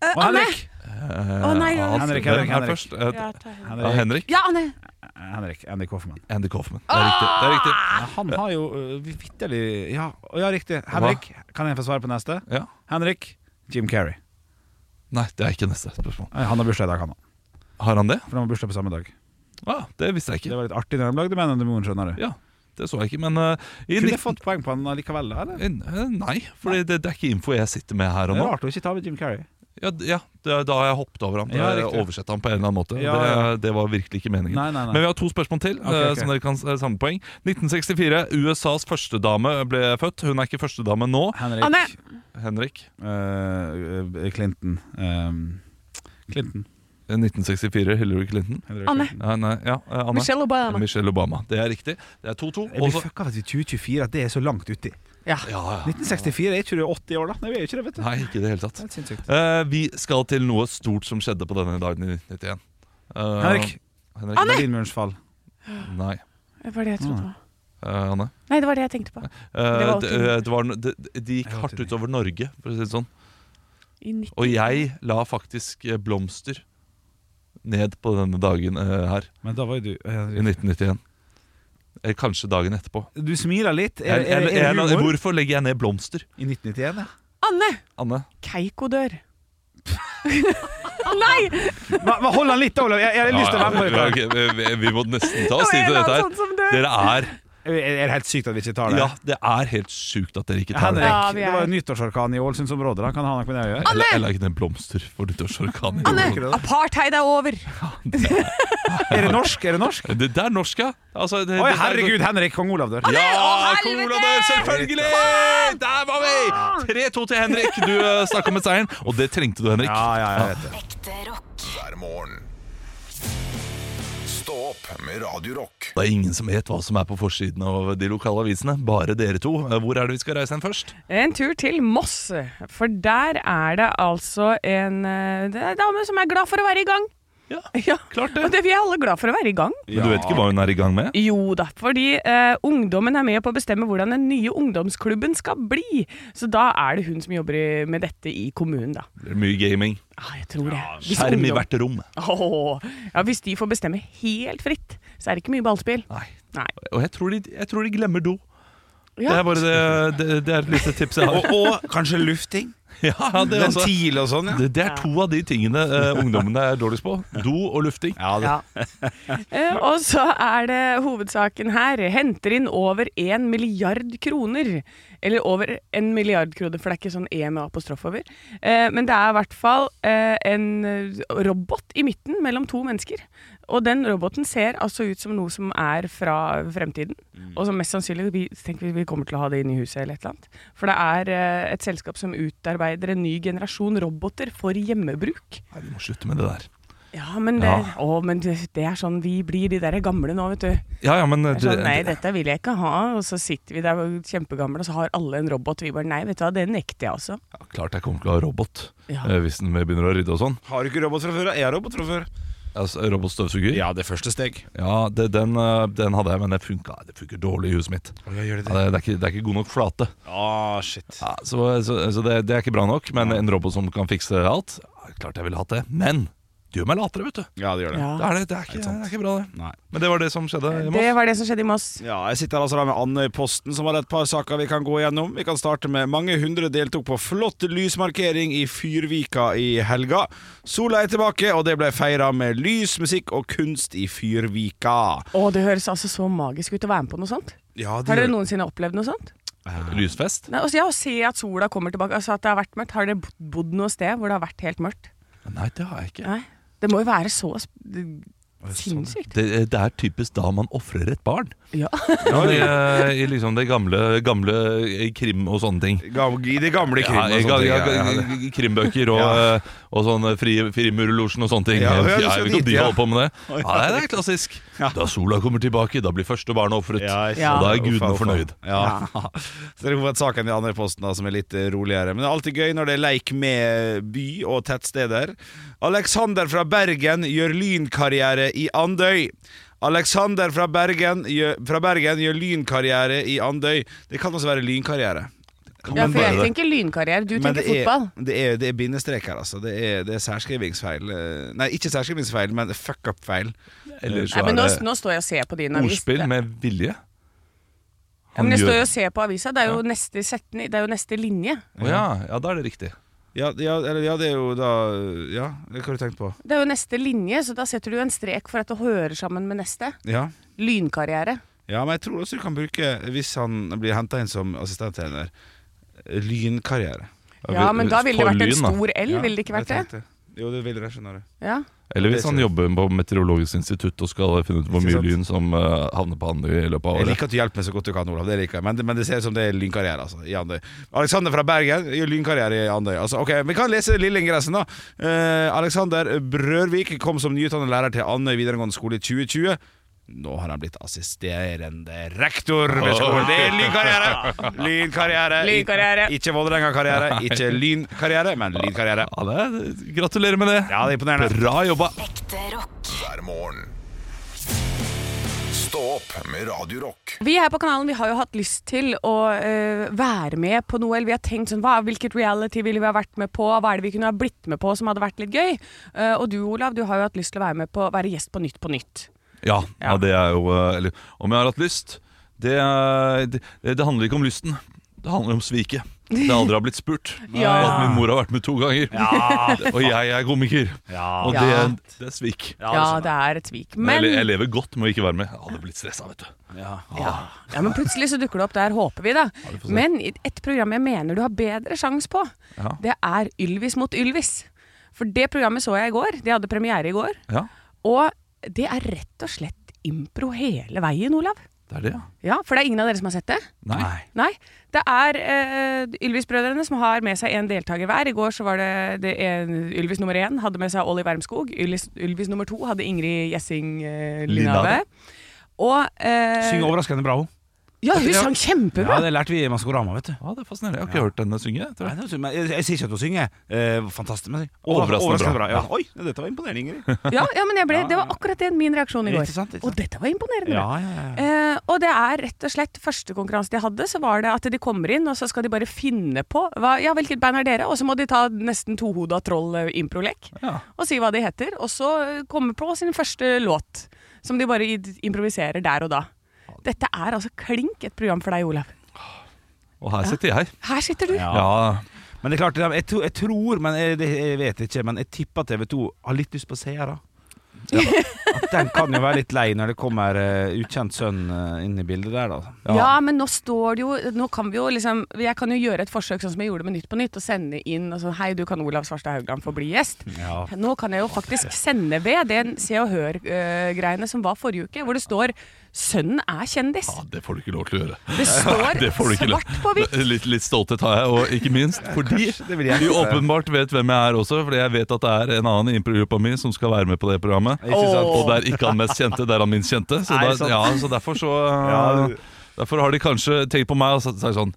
[SPEAKER 5] Eh, Anne!
[SPEAKER 2] Henrik!
[SPEAKER 5] Å nei.
[SPEAKER 3] Ja,
[SPEAKER 5] Ja,
[SPEAKER 2] Henrik,
[SPEAKER 3] hvem
[SPEAKER 2] Henrik,
[SPEAKER 3] er
[SPEAKER 2] Henrik.
[SPEAKER 3] først? Eh,
[SPEAKER 5] Ja, ta henne.
[SPEAKER 3] ja,
[SPEAKER 2] Henrik,
[SPEAKER 3] Henrik.
[SPEAKER 5] ja, Anne!
[SPEAKER 2] Henrik, Andy Kaufman.
[SPEAKER 3] Andy Kaufman. Det er riktig. Det er riktig.
[SPEAKER 2] Ja, han har jo øh, vi- vitterlig ja, å, ja, riktig. Henrik, kan jeg få svare på neste?
[SPEAKER 3] Ja.
[SPEAKER 2] Henrik, Jim Carrey.
[SPEAKER 3] Nei, det er ikke neste spørsmål.
[SPEAKER 2] Eh, Han har bursdag i dag, han òg.
[SPEAKER 3] Har han det?
[SPEAKER 2] For han har bursdag på samme dag.
[SPEAKER 3] Ah, det visste
[SPEAKER 2] Det
[SPEAKER 3] jeg ikke.
[SPEAKER 2] var litt artig når de lagde Man on the Moon, skjønner du.
[SPEAKER 3] Ja, det så jeg ikke, men eh, i
[SPEAKER 2] Kunne
[SPEAKER 3] nitt-
[SPEAKER 2] jeg fått poeng på han likevel, da? Eller?
[SPEAKER 3] Eh, Nei, for det, det er ikke info jeg sitter med her
[SPEAKER 2] Det
[SPEAKER 3] og
[SPEAKER 2] er
[SPEAKER 3] nå.
[SPEAKER 2] rart å ikke ta med Jim Carrey.
[SPEAKER 3] Ja, d- ja det, Da har jeg hoppet over ham. Da
[SPEAKER 2] Ja,
[SPEAKER 3] har jeg
[SPEAKER 2] riktig.
[SPEAKER 3] oversett ham på en eller annen måte.
[SPEAKER 2] Ja, ja.
[SPEAKER 3] Det, det var virkelig ikke meningen.
[SPEAKER 2] Nei, nei, nei.
[SPEAKER 3] Men vi har to spørsmål til,
[SPEAKER 2] Ok,
[SPEAKER 3] eh,
[SPEAKER 2] ok.
[SPEAKER 3] som dere kan s- eh, samme poeng. 1964. USAs førstedame ble født. Hun er ikke førstedame nå.
[SPEAKER 2] Henrik
[SPEAKER 5] Anne!
[SPEAKER 3] Henrik.
[SPEAKER 2] øh, øh, Clinton. ehm, Clinton.
[SPEAKER 3] Eh, 1964. Hillary Clinton.
[SPEAKER 2] Henrik
[SPEAKER 5] Anne.
[SPEAKER 2] Clinton.
[SPEAKER 3] Nei, nei, ja, eh, Anne.
[SPEAKER 5] Michelle Obama.
[SPEAKER 3] Michelle Obama. Det er riktig. Det er 2-2.
[SPEAKER 2] Jeg
[SPEAKER 3] Også-
[SPEAKER 2] blir fucka vet du, 2024 at det er så langt uti.
[SPEAKER 4] Ja.
[SPEAKER 2] 1964 er ikke du 80 år, da? Nei, vi er ikke det, vet du.
[SPEAKER 3] Nei, ikke i det hele tatt.
[SPEAKER 2] Det er helt sinnssykt.
[SPEAKER 3] Eh, vi skal til noe stort som skjedde på denne dagen i 1991. Eh,
[SPEAKER 2] Henrik,
[SPEAKER 3] Henrik.
[SPEAKER 2] Berlinmurens fall.
[SPEAKER 3] Nei.
[SPEAKER 5] Det var det jeg trodde. det var.
[SPEAKER 3] Eh, Anne?
[SPEAKER 5] Nei, det var det jeg tenkte på.
[SPEAKER 3] Eh,
[SPEAKER 5] Det var
[SPEAKER 3] det,
[SPEAKER 5] alltid-
[SPEAKER 3] eh, det var, no- det, de gikk
[SPEAKER 2] Jeg var
[SPEAKER 3] hardt
[SPEAKER 2] alltid-
[SPEAKER 3] utover Norge, for å si det sånn.
[SPEAKER 5] I 90.
[SPEAKER 3] Og jeg la faktisk eh, blomster ned på denne dagen eh, her,
[SPEAKER 2] Men da var jo du
[SPEAKER 3] i 1991. Eh, Kanskje dagen etterpå.
[SPEAKER 2] Du smiler litt. Er,
[SPEAKER 3] Eller-
[SPEAKER 2] er, er,
[SPEAKER 3] eller-
[SPEAKER 2] det
[SPEAKER 3] eller-
[SPEAKER 2] humor?
[SPEAKER 3] hvorfor legger jeg ned blomster?
[SPEAKER 2] I 1991, ja.
[SPEAKER 5] Anne!
[SPEAKER 3] Anne?
[SPEAKER 5] Keiko dør. Nei!
[SPEAKER 2] Men, men hold han litt, Olav. Jeg, jeg har lyst til å
[SPEAKER 3] Ja,
[SPEAKER 2] være med på dette.
[SPEAKER 3] ja, ok, vi, vi må nesten ta
[SPEAKER 5] Det
[SPEAKER 3] oss
[SPEAKER 5] var
[SPEAKER 3] tid
[SPEAKER 5] en
[SPEAKER 3] til
[SPEAKER 5] eller
[SPEAKER 3] dette
[SPEAKER 5] annen
[SPEAKER 3] her.
[SPEAKER 5] sånn som dør.
[SPEAKER 3] Dere er
[SPEAKER 2] Er det helt sykt at vi ikke tar det?
[SPEAKER 3] Ja, det er helt sjukt at dere ikke tar
[SPEAKER 2] Henrik,
[SPEAKER 3] det.
[SPEAKER 5] Ja, vi er-
[SPEAKER 2] det var jo nyttårsorkan i Ålesundsområdet. da. Kan han ha noe med det å gjøre?
[SPEAKER 3] Eller, eller ikke den blomster for nyttårsorkanen.
[SPEAKER 2] Anne!
[SPEAKER 5] Apartheid er over!
[SPEAKER 2] Er det norsk? Er det norsk?
[SPEAKER 3] Det, det er norsk, ja. Altså, det,
[SPEAKER 2] Oi,
[SPEAKER 3] det-
[SPEAKER 2] herregud, Henrik kong Olav dør.
[SPEAKER 3] Ja,
[SPEAKER 5] Å, helvete!
[SPEAKER 3] Koladør, selvfølgelig! Der var vi! 3-2 til Henrik. Du eh, stakk om med seieren, og det trengte du, Henrik.
[SPEAKER 2] Ja, ja, jeg vet det.
[SPEAKER 8] Ekte rock.
[SPEAKER 1] hver morgen. Stå opp med Radio Rock.
[SPEAKER 3] Det er ingen som vet hva som er på forsiden av de lokale avisene. Bare dere to. Eh, Hvor er det vi skal reise hen først?
[SPEAKER 5] En tur til Moss, for der er det altså en eh, det er en dame som er glad for å være i gang.
[SPEAKER 3] Ja,
[SPEAKER 5] Ja,
[SPEAKER 3] klart
[SPEAKER 5] Og det, vi er alle glad for å være i gang.
[SPEAKER 3] Men du vet ikke hva hun er i gang med?
[SPEAKER 5] Jo da, fordi eh, ungdommen er med på å bestemme hvordan den nye ungdomsklubben skal bli. Så da er det hun som jobber i- med dette i kommunen, da.
[SPEAKER 3] Det er mye gaming.
[SPEAKER 5] Ja, jeg tror det. Hvis
[SPEAKER 3] Skjerm i
[SPEAKER 5] ungdom-
[SPEAKER 3] hvert rom.
[SPEAKER 5] Åh, ja, Hvis de får bestemme helt fritt, så er det ikke mye ballspill.
[SPEAKER 3] Nei.
[SPEAKER 5] Nei.
[SPEAKER 3] Og jeg tror de, jeg tror de glemmer do. Det
[SPEAKER 5] Ja.
[SPEAKER 3] er bare det, det, det er et lite tips jeg har.
[SPEAKER 2] Og kanskje lufting?
[SPEAKER 3] Ja, det er også-
[SPEAKER 2] Ventil og sånn, ja.
[SPEAKER 3] Det, det er to av de tingene eh, ungdommene er dårligst på. Do og lufting.
[SPEAKER 5] Ja. Eh, og så er det hovedsaken her. Henter inn over én milliard kroner. Eller over en milliard kroner, for det er ikke sånn E med apostrof over. Eh, men det er i hvert fall eh, en eh, robot i midten mellom to mennesker. Og den roboten ser altså ut som noe som er fra fremtiden. Og som mest sannsynlig vi tenker vi- vi kommer til å ha det inne i huset eller et eller annet. For det er eh, et selskap som utarbeider en ny generasjon roboter for hjemmebruk.
[SPEAKER 3] Nei, vi må slutte med det der.
[SPEAKER 5] Ja, men det,
[SPEAKER 3] Ja.
[SPEAKER 5] Å, men det, det er sånn vi blir de der gamle nå, vet du.
[SPEAKER 3] Ja, ja, men
[SPEAKER 5] Det er sånn, nei, dette vil jeg ikke ha. Og så sitter vi der og er kjempegamle, og så har alle en robot. Vi bare nei, vet du hva, det nekter jeg også.
[SPEAKER 3] Ja, klart jeg kommer til å ha robot
[SPEAKER 5] Ja.
[SPEAKER 3] eh, hvis den begynner å rydde og sånn.
[SPEAKER 2] Har du ikke robot fra før? da? Er jeg robot fra før?
[SPEAKER 3] Altså, Robotstøvsuger. Ja,
[SPEAKER 10] Ja, det er første steg.
[SPEAKER 3] det, den, eh, den hadde jeg, men det funka det funker dårlig i huset mitt. Ja, det, det, er ikke, det er ikke god nok flate.
[SPEAKER 2] Ah, shit.
[SPEAKER 3] Ja, så så, så det, det er ikke bra nok, men en robot som kan fikse alt ja, Klart jeg ville hatt det. Men det gjør meg latere, vet du.
[SPEAKER 2] Ja, det gjør det.
[SPEAKER 5] Ja.
[SPEAKER 3] Det er, det, det, er ikke, det er ikke bra, det.
[SPEAKER 2] Nei.
[SPEAKER 3] Men det var det som skjedde i
[SPEAKER 5] Det
[SPEAKER 3] Moss.
[SPEAKER 5] var det som skjedde i Moss.
[SPEAKER 2] Ja, jeg sitter her altså da med Andøy-posten, som har et par saker vi kan gå gjennom. Vi kan starte med mange hundre deltok på flott lysmarkering i Fyrvika i helga. Sola er tilbake, og det ble feira med lys, musikk og kunst i Fyrvika.
[SPEAKER 5] Å, det høres altså så magisk ut å være med på noe sånt.
[SPEAKER 2] Ja, det
[SPEAKER 5] Har dere
[SPEAKER 2] gjør-
[SPEAKER 5] noensinne opplevd noe sånt?
[SPEAKER 3] Lysfest.
[SPEAKER 5] Nei, altså, ja, å se at sola kommer tilbake, altså at det har vært mørkt. Har dere bo- bodd noe sted hvor det har vært helt mørkt?
[SPEAKER 3] Nei, det har jeg ikke.
[SPEAKER 5] Nei. Det må jo være så sp- det- sinnssykt.
[SPEAKER 3] Det, det er typisk da man ofrer et barn.
[SPEAKER 5] Ja.
[SPEAKER 3] I, eh, I liksom det gamle, gamle krim og sånne ting.
[SPEAKER 2] Gam- I det gamle krim
[SPEAKER 3] Ja,
[SPEAKER 2] og sånne ting.
[SPEAKER 3] ja,
[SPEAKER 2] Ja, ja, det-
[SPEAKER 3] ja, krimbøker og,
[SPEAKER 2] Ja.
[SPEAKER 3] og sånn fri, frimurlosjen og sånne ting.
[SPEAKER 2] Ja,
[SPEAKER 3] Jeg
[SPEAKER 2] ja, det
[SPEAKER 3] vet
[SPEAKER 2] skal
[SPEAKER 3] ikke om
[SPEAKER 2] dit,
[SPEAKER 3] de
[SPEAKER 2] ja.
[SPEAKER 3] holder på med det. Ja, det er klassisk. Da sola kommer tilbake, da blir første barn ofret.
[SPEAKER 7] Ja, jeg
[SPEAKER 5] Ja.
[SPEAKER 3] Og da er
[SPEAKER 2] Uffa,
[SPEAKER 3] gudene
[SPEAKER 2] uffa.
[SPEAKER 3] fornøyd.
[SPEAKER 2] Ja. Så det er hovedsaken i andre posten da, som er litt eh, roligere. Men det er alltid gøy når det er leik med by og tettsteder. Alexander fra Bergen gjør lynkarriere i Andøy. Alexander fra Bergen gjør, fra Bergen gjør lynkarriere i Andøy. Det kan også være lynkarriere.
[SPEAKER 3] Kan
[SPEAKER 5] Ja,
[SPEAKER 3] man
[SPEAKER 5] for jeg
[SPEAKER 3] bare det?
[SPEAKER 5] tenker lynkarriere, du
[SPEAKER 2] Men
[SPEAKER 5] tenker
[SPEAKER 2] det er,
[SPEAKER 5] fotball.
[SPEAKER 2] det, er, det er bindestrek her, altså. Det er, det er særskrivingsfeil. Eh, Nei, ikke særskrivingsfeil, men fuck up-feil.
[SPEAKER 3] Eller så
[SPEAKER 5] Nei, men
[SPEAKER 3] er
[SPEAKER 5] nå,
[SPEAKER 3] det
[SPEAKER 5] nå står jeg og ser på din avis.
[SPEAKER 3] ordspill med vilje.
[SPEAKER 5] ja, men
[SPEAKER 3] Han
[SPEAKER 5] jeg står
[SPEAKER 3] gjør-
[SPEAKER 5] jo og ser på avisa. Det er jo neste setning, det er jo neste linje.
[SPEAKER 3] Å ja, ja, da er det riktig.
[SPEAKER 2] Ja, ja, eller, ja, det er jo da Ja, hva har du tenkt på?
[SPEAKER 5] Det er jo neste linje, så da setter du en strek for at det hører sammen med neste.
[SPEAKER 2] Ja
[SPEAKER 5] Lynkarriere.
[SPEAKER 2] Ja, men jeg tror også du kan bruke, hvis han blir henta inn som assistenttrener, lynkarriere.
[SPEAKER 5] Ja, men da ville det vært en
[SPEAKER 3] For lyn, da.
[SPEAKER 5] stor L, ville det ikke vært det?
[SPEAKER 2] Jo, det ville det, skjønner du.
[SPEAKER 5] Ja.
[SPEAKER 3] Eller hvis
[SPEAKER 2] Det
[SPEAKER 3] han
[SPEAKER 2] ser jeg.
[SPEAKER 3] jobber på Meteorologisk institutt og skal finne ut hvor
[SPEAKER 2] Ikke
[SPEAKER 3] mye
[SPEAKER 2] sant?
[SPEAKER 3] lyn som eh, havner på Andøy i løpet av
[SPEAKER 2] Jeg
[SPEAKER 3] året.
[SPEAKER 2] liker at du hjelper meg så godt du kan, Olav. Det liker jeg. Men, men det ser ut som det er lynkarriere. altså, i Andøy. Alexander fra Bergen gjør lynkarriere i Andøy. Altså, ok, Vi kan lese lille ingressen, da. Eh, Alexander Brørvik kom som nyutdannet lærer til Andøy videregående skole i 2020. Nå har han blitt assisterende rektor ved skolen. Det er lynkarriere! Lynkarriere.
[SPEAKER 5] Lynkarriere.
[SPEAKER 2] Ik- Ikke Vålerenga-karriere, ikke lynkarriere, men lynkarriere.
[SPEAKER 3] Ja, det er, gratulerer med det!
[SPEAKER 2] Ja, det er imponerende.
[SPEAKER 3] Bra jobba!
[SPEAKER 8] Ekte rock.
[SPEAKER 1] hver morgen. Stå opp med Radio Rock.
[SPEAKER 5] Vi her på kanalen vi har jo hatt lyst til å eh, være med på noe. Eller vi har tenkt sånn hva, Hvilket reality ville vi ha vært med på? Hva er det vi kunne ha blitt med på som hadde vært litt gøy? Eh, og du Olav, du har jo hatt lyst til å være med på være gjest på Nytt på nytt.
[SPEAKER 3] Ja, ja. det er jo eh, Eller om jeg har hatt lyst det, er- det, det handler ikke om lysten. Det handler om sviket. Det aldri har blitt spurt.
[SPEAKER 5] Ja.
[SPEAKER 3] Og at min mor har vært med to ganger. Og jeg er komiker. Og det,
[SPEAKER 5] Ja.
[SPEAKER 3] det er svik.
[SPEAKER 5] Ja, det er et svik.
[SPEAKER 3] Men
[SPEAKER 5] Men,
[SPEAKER 3] jeg, le- jeg lever godt med å ikke være med. Jeg hadde blitt stressa, vet du.
[SPEAKER 5] ja, men plutselig så dukker det opp der, håper vi da.
[SPEAKER 3] Ah. får se.
[SPEAKER 5] Men i et program jeg mener du har bedre sjanse på,
[SPEAKER 3] Ja.
[SPEAKER 5] det er Ylvis mot Ylvis. For det programmet så jeg i går. De hadde premiere i går.
[SPEAKER 3] Ja,
[SPEAKER 5] Og det er rett og slett impro hele veien, Olav.
[SPEAKER 3] det er det, ja.
[SPEAKER 5] Ja, For det er ingen av dere som har sett det?
[SPEAKER 3] Nei.
[SPEAKER 5] Nei. Det er eh, Ylvis-brødrene som har med seg en deltaker hver. I går så var det, det en, Ylvis nummer én hadde med seg Olli Wermskog. Ylvis, Ylvis nummer to hadde Ingrid Gjessing eh, Linave.
[SPEAKER 3] Linave.
[SPEAKER 5] Og eh,
[SPEAKER 2] Synger overraskende bra, hun.
[SPEAKER 5] Ja, hun
[SPEAKER 3] Ja.
[SPEAKER 5] sang
[SPEAKER 2] Ja,
[SPEAKER 5] kjempebra!
[SPEAKER 2] det lærte vi i Maskorama, vet du.
[SPEAKER 3] Ja, det er fascinerende. Jeg har ikke hørt henne synge. Tror
[SPEAKER 2] Nei,
[SPEAKER 3] jeg.
[SPEAKER 2] det er- men jeg, jeg sier ikke at hun synger eh, fantastisk, men jeg sier
[SPEAKER 3] Overraskende bra.
[SPEAKER 2] Ja. Oi, dette var imponerende, Ingrid.
[SPEAKER 5] Ja, ja, men jeg ble, Det var akkurat det min reaksjon i går.
[SPEAKER 2] Ikke sant, ikke sant.
[SPEAKER 5] Og dette var imponerende.
[SPEAKER 2] ja, ja, ja.
[SPEAKER 5] Eh, og det er rett og slett første konkurranse de hadde, så var det at de kommer inn, og så skal de bare finne på hva, Ja, hvilket band er dere? Og så må de ta nesten tohoda troll-improlek
[SPEAKER 3] Ja.
[SPEAKER 5] eh, og si hva de heter. Og så komme på sin første låt, som de bare i- improviserer der og da. Dette er altså klink et program for deg, Olav.
[SPEAKER 3] Og her sitter jeg.
[SPEAKER 5] Her sitter du.
[SPEAKER 3] Ja.
[SPEAKER 2] Men det er klart, jeg, tro- jeg tror, men jeg, det- jeg vet ikke, men jeg tipper TV 2 har litt lyst på seere. At den kan jo være litt lei når det kommer eh, ukjent sønn eh, inn i bildet der, da.
[SPEAKER 5] Ja. men nå står det jo Nå kan vi jo liksom Jeg kan jo gjøre et forsøk sånn som jeg gjorde med Nytt på Nytt, og sende inn og sånn Hei, du kan Olav Svarstad Haugland få bli gjest.
[SPEAKER 2] Ja.
[SPEAKER 5] Nå kan jeg jo faktisk sende ved den Se og Hør-greiene som var forrige uke, hvor det står 'Sønnen er kjendis'.
[SPEAKER 3] Ja, det får du ikke lov til å gjøre.
[SPEAKER 5] Det står
[SPEAKER 3] Det får du ikke lov-
[SPEAKER 5] svart på hvitt.
[SPEAKER 3] Litt, litt stolthet har jeg, og ikke minst fordi
[SPEAKER 2] det vil jeg
[SPEAKER 3] du
[SPEAKER 2] ikke.
[SPEAKER 3] åpenbart vet hvem jeg er også, fordi jeg vet at det er en annen i improgruppa mi som skal være med på det programmet.
[SPEAKER 2] Ikke sant?
[SPEAKER 3] Og det er ikke han mest kjente, det er han minst kjente. Så,
[SPEAKER 2] Nei,
[SPEAKER 3] da,
[SPEAKER 2] sant.
[SPEAKER 3] ja, så derfor så Derfor har de kanskje tenkt på meg og sagt sagt sånn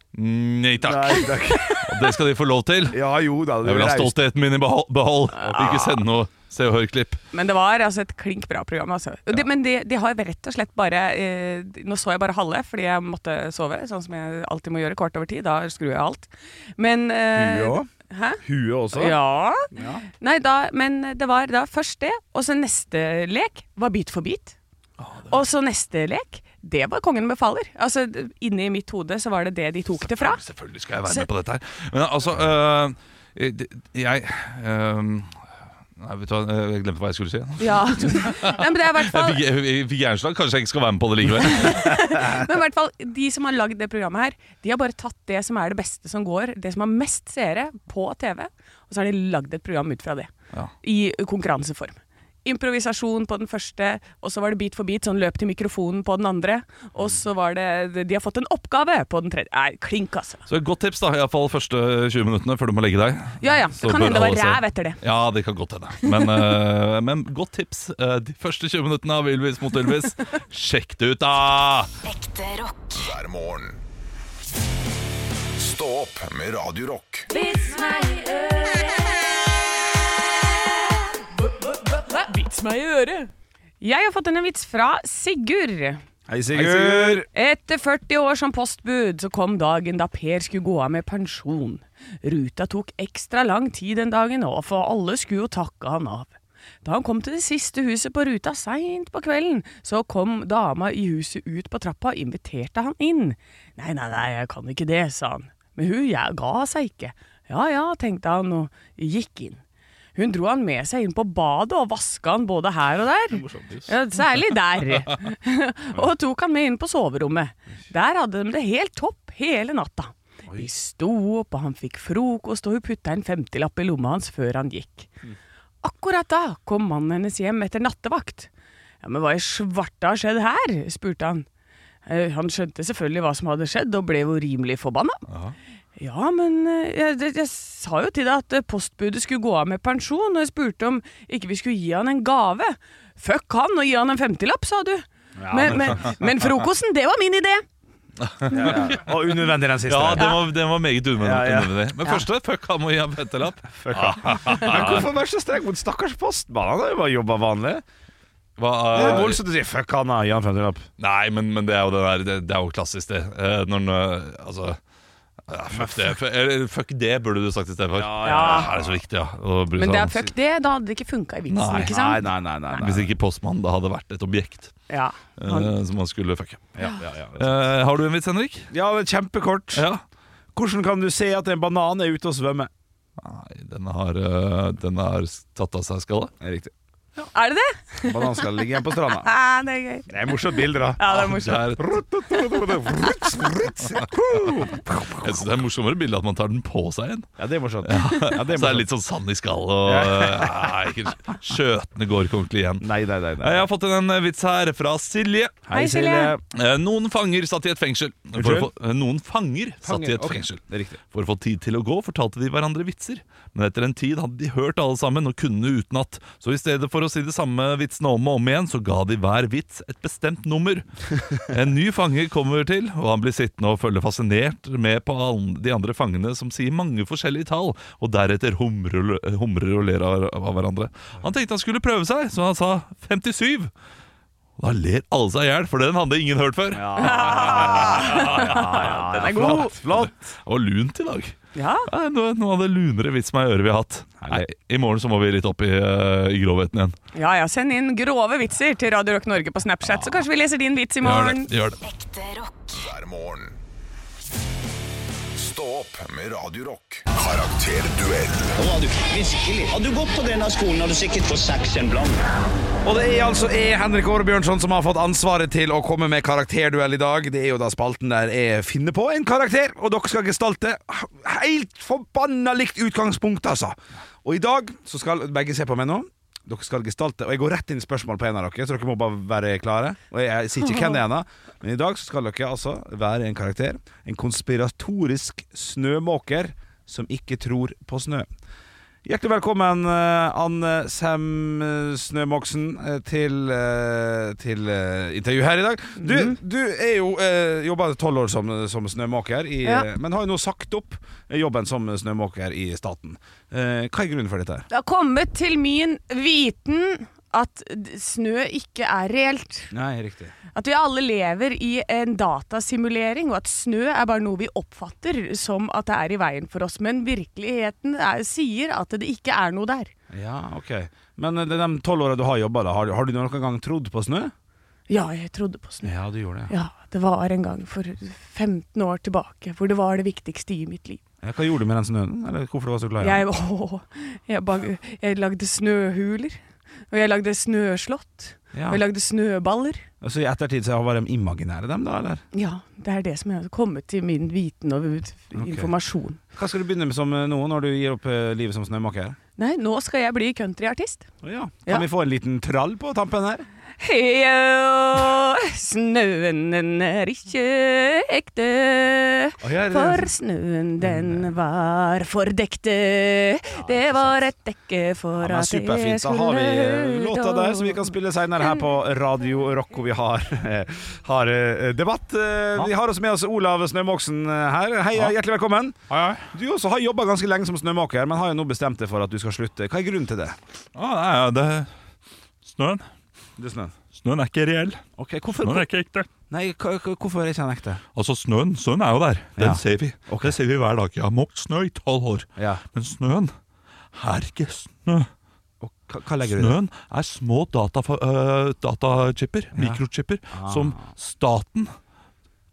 [SPEAKER 3] Nei takk,
[SPEAKER 2] Nei, takk.
[SPEAKER 3] og det skal de få lov til.
[SPEAKER 2] Ja jo da. det
[SPEAKER 3] Jeg vil ha
[SPEAKER 2] er raust.
[SPEAKER 3] stoltheten min i behal- behold, ikke send noe Se og Hør-klipp.
[SPEAKER 5] Men det var altså et klink bra program. Altså. Det, men de, de har rett og slett bare eh, Nå så jeg bare halve fordi jeg måtte sove, sånn som jeg alltid må gjøre kvart over ti. Da skrur jeg alt. Men eh,
[SPEAKER 2] Du òg?
[SPEAKER 5] Hæ?
[SPEAKER 7] Huet også?
[SPEAKER 5] Ja. Nei, da, men det var da først det, og så neste lek var Bit for bit. Og så neste lek, det var Kongen befaler. Altså, d- Inni mitt hode så var det det de tok det fra.
[SPEAKER 3] Selvfølgelig skal jeg være med på dette her. Men altså øh, det- Jeg øh, Nei, vet du hva, øh, jeg glemte hva jeg skulle si.
[SPEAKER 5] Ja. Nei, men det er i hvert
[SPEAKER 3] Jeg
[SPEAKER 5] fall
[SPEAKER 3] fikk, jeg, jeg fikk jernslag. Kanskje jeg ikke skal være med på det likevel.
[SPEAKER 5] Men i hvert fall, de som har lagd det programmet her, de har bare tatt det som er det beste som går, det som har mest seere på TV, og så har de lagd et program ut fra det.
[SPEAKER 3] Ja.
[SPEAKER 5] I konkurranseform. Improvisasjon på den første, og så var det bit for bit, sånn løp til mikrofonen på den andre, og så var det De har fått en oppgave på den tredje. Nei, klink, altså.
[SPEAKER 3] Så et godt tips, da. Iallfall første 20 minuttene før du må legge deg.
[SPEAKER 5] Ja ja,
[SPEAKER 3] Så
[SPEAKER 5] det kan
[SPEAKER 3] bør
[SPEAKER 5] hende det var
[SPEAKER 3] alle se.
[SPEAKER 5] ræv etter det.
[SPEAKER 3] Ja, det kan godt hende. Men, øh, men godt tips. Eh, de første 20 minuttene av Ylvis mot Ylvis. Sjekk det ut, da!
[SPEAKER 8] Ekte rock.
[SPEAKER 1] hver morgen. Stå opp med Radio Rock.
[SPEAKER 5] Vits meg i øret. Jeg har fått en vits fra Sigurd.
[SPEAKER 2] Hei, Sigurd!
[SPEAKER 5] Etter 40 år som postbud så kom dagen da Per skulle gå av med pensjon. Ruta tok ekstra lang tid den dagen, og for alle skulle jo takke han av. Da han kom til det siste huset på ruta seint på kvelden, så kom dama i huset ut på trappa og inviterte han inn. Nei, nei, nei, jeg kan ikke det, sa han. Men hun jeg ga seg ikke. Ja ja, tenkte han og gikk inn. Hun dro han med seg inn på badet og vaska han både her og der. Ja, særlig der. og tok han med inn på soverommet. Der hadde de det helt topp hele natta. De sto opp, og han fikk frokost, og hun putta en femtilapp i lomma hans før han gikk. Akkurat da kom mannen hennes hjem etter nattevakt. Ja, Men hva i svarte har skjedd her? spurte han. Eh, Han skjønte selvfølgelig hva som hadde skjedd, og ble jo rimelig forbanna. Ja, men eh, jeg, det- jeg sa jo til deg at eh, postbudet skulle gå av med pensjon, og jeg spurte om ikke vi skulle gi han en gave. Fuck han og gi han en femtilapp, sa du. men, men, men frokosten, det var min idé.
[SPEAKER 2] Og unødvendig den siste.
[SPEAKER 3] Ja,
[SPEAKER 2] her.
[SPEAKER 3] den var, den var meget unødvendig.
[SPEAKER 2] Ja, ja.
[SPEAKER 3] unødvendig. Men første, fuck ham og gi ham petelapp.
[SPEAKER 2] Men hvorfor være så streng mot stakkars postmann? Han har jo bare jobba vanlig.
[SPEAKER 3] Hva,
[SPEAKER 2] Det er
[SPEAKER 3] eh,
[SPEAKER 2] voldsomt å si 'fuck han', da. Gi han femtilapp.
[SPEAKER 3] Nei, men, men det er jo den der, det, det er jo klassisk, det. Eh, når den, eh, altså ja, fuck, det, fuck, eller, fuck det burde du sagt istedenfor. Ja,
[SPEAKER 5] ja.
[SPEAKER 3] Er det så viktig, ja? Å bry
[SPEAKER 5] Men
[SPEAKER 3] seg
[SPEAKER 5] det
[SPEAKER 3] om.
[SPEAKER 5] er fuck det, da hadde det ikke funka i vitsen,
[SPEAKER 3] Nei,
[SPEAKER 5] ikke
[SPEAKER 2] Nei,
[SPEAKER 5] sant?
[SPEAKER 2] nei, nei. nei, nei.
[SPEAKER 3] Hvis ikke postmannen da hadde vært et objekt
[SPEAKER 5] Ja,
[SPEAKER 3] eh,
[SPEAKER 5] han,
[SPEAKER 3] som man skulle fucke.
[SPEAKER 2] Ja, ja, ja.
[SPEAKER 3] Eh, har du en vits, Henrik?
[SPEAKER 2] Ja, det er kjempekort.
[SPEAKER 3] Ja.
[SPEAKER 2] Hvordan kan du se at en banan er ute og svømmer?
[SPEAKER 3] Nei, den har, eh, den har tatt av seg skallet.
[SPEAKER 2] Det er riktig.
[SPEAKER 5] Er det det?
[SPEAKER 2] Banan skal ligge igjen på stranda.
[SPEAKER 5] Ah, det er gøy.
[SPEAKER 2] Det er morsomt bilde, da.
[SPEAKER 5] Ja, det er morsomt.
[SPEAKER 3] Ah, Det er, jeg synes det er morsommere bilde at man tar den på seg igjen.
[SPEAKER 2] Ja, det er morsomt. Ja, det er
[SPEAKER 3] Så det er
[SPEAKER 2] morsomt.
[SPEAKER 3] litt sånn sand i skallet og ja, ikke, Skjøtene går ikke ordentlig igjen.
[SPEAKER 2] Nei, nei, nei. nei.
[SPEAKER 3] Eh, Jeg har fått inn en eh, vits her fra Silje.
[SPEAKER 5] Hei, Silje.
[SPEAKER 3] Eh, Noen fanger satt i et fengsel. For å få, eh, noen fanger satt i et
[SPEAKER 2] Ok,
[SPEAKER 3] fengsel.
[SPEAKER 2] Det er riktig.
[SPEAKER 3] For å få tid til å gå fortalte de hverandre vitser. Men etter en tid hadde de hørt alle sammen og kunne utenat. Så i stedet for å si de samme vitsene om og om igjen, så ga de hver vits et bestemt nummer. En ny fange kommer til, og han blir sittende og følge fascinert med på alle de andre fangene som sier mange forskjellige tall, og deretter humrer, humrer og ler av, av hverandre. Han tenkte han skulle prøve seg, så han sa 57. Og Da ler alle seg i hjel, for den hadde ingen hørt før.
[SPEAKER 2] Den er god. Flott.
[SPEAKER 3] Og lunt i dag.
[SPEAKER 5] Ja.
[SPEAKER 3] Ja, det er noe- noe av det lunere vits meg i øret vi har hatt. Nei,
[SPEAKER 2] Herlig.
[SPEAKER 3] I morgen så må vi litt opp i, eh, i grovheten igjen.
[SPEAKER 5] ja ja, send inn grove vitser til Radio Rock Norge på Snapchat, så kanskje vi leser din vits i
[SPEAKER 3] Gjør
[SPEAKER 5] morgen.
[SPEAKER 3] det. Gjør det.
[SPEAKER 8] Ekte rock.
[SPEAKER 1] hver morgen. Stå opp med Radio Rock. Karakterduell
[SPEAKER 6] Bra, du. Virkelig. Har du gått på denne skolen, har du sikkert fått saksen blank.
[SPEAKER 2] Og det er altså jeg, Henrik Årebjørnson, som har fått ansvaret til å komme med karakterduell i dag. Det er jo da spalten der jeg finner på en karakter, og dere skal gestalte helt forbanna likt utgangspunkt, altså. Og i dag så skal begge se på meg nå. Dere skal gestalte, og jeg går rett inn i spørsmål på en av dere, så dere må bare være klare. Og jeg sier ikke hvem det er ennå, men i dag så skal dere altså være en karakter. En konspiratorisk snømåker som ikke tror på snø. Hjertelig velkommen, eh, Anne Sem eh, Snømoksen, eh, til, eh, til eh, intervju her i dag. Du, du er jo eh, jobba tolv år som, som snømåker, i, eh,
[SPEAKER 4] Ja.
[SPEAKER 2] men har jo nå sagt opp jobben som snømåker i staten. Eh, hva er grunnen for dette? her?
[SPEAKER 5] Det har kommet til min viten at d- snø ikke er reelt.
[SPEAKER 2] Nei, riktig.
[SPEAKER 5] At vi alle lever i en datasimulering, og at snø er bare noe vi oppfatter som at det er i veien for oss. Men virkeligheten er, sier at det ikke er noe der.
[SPEAKER 2] Ja, ok. Men eh, de de tolv åra du har jobba, da, har, du- har du noen gang trodd på snø?
[SPEAKER 5] Ja, jeg trodde på snø.
[SPEAKER 2] Ja, du gjorde det.
[SPEAKER 5] Ja, det var en gang for 15 år tilbake, hvor det var det viktigste i mitt liv.
[SPEAKER 2] Ja, Hva gjorde du med den snøen? Eller hvorfor du var så glad i den?
[SPEAKER 5] Jeg, åh, jeg, bag, jeg lagde snøhuler, og jeg lagde snøslott,
[SPEAKER 2] Ja.
[SPEAKER 5] og jeg lagde snøballer.
[SPEAKER 2] Så i ettertid så var de imaginære, dem da? eller?
[SPEAKER 5] Ja, det er det som har kommet til min viten og ut- informasjon.
[SPEAKER 2] Hva skal du begynne med som eh, nå, når du gir opp eh, livet som snømaker?
[SPEAKER 5] Nei, nå skal jeg bli countryartist.
[SPEAKER 2] Ja. Kan
[SPEAKER 5] Ja.
[SPEAKER 2] vi få en liten trall på tampen her?
[SPEAKER 5] Heia, snøen den er ikke ekte.
[SPEAKER 2] ja, det er det.
[SPEAKER 5] For snøen den var fordekte. Det var et dekke for
[SPEAKER 2] Ja, men
[SPEAKER 5] at jeg
[SPEAKER 2] superfint. Da
[SPEAKER 5] skulle
[SPEAKER 2] har vi eh, låta der som vi
[SPEAKER 5] ut
[SPEAKER 2] kan
[SPEAKER 5] og-
[SPEAKER 2] spille senere her på Radio Rock, hvor vi har, har eh, debatt. Eh, Vi har også med oss Olav Snømåksen eh, her. Hei, eh, hjertelig velkommen. Du også har jobba ganske lenge som snømaker, men har jo nå bestemt deg for at du skal slutte. Hva er grunnen til det?
[SPEAKER 3] Ah, nei, ja, det Snøen.
[SPEAKER 2] Det er snøen.
[SPEAKER 3] Snøen er ikke reell.
[SPEAKER 2] Ok, hvorfor,
[SPEAKER 3] Snøen er ikke ekte.
[SPEAKER 2] nei, hva- hva- hvorfor er ikke han ekte?
[SPEAKER 3] Altså, snøen, snøen er jo der. Den
[SPEAKER 2] Ja.
[SPEAKER 3] ser vi. Det ser vi hver dag. Jeg har måkt snø i tolv år.
[SPEAKER 2] Ja.
[SPEAKER 3] Men snøen er ikke snø.
[SPEAKER 2] Og hva, hva legger du i det?
[SPEAKER 3] Snøen er små data, øh, datachipper, mikrochipper, som staten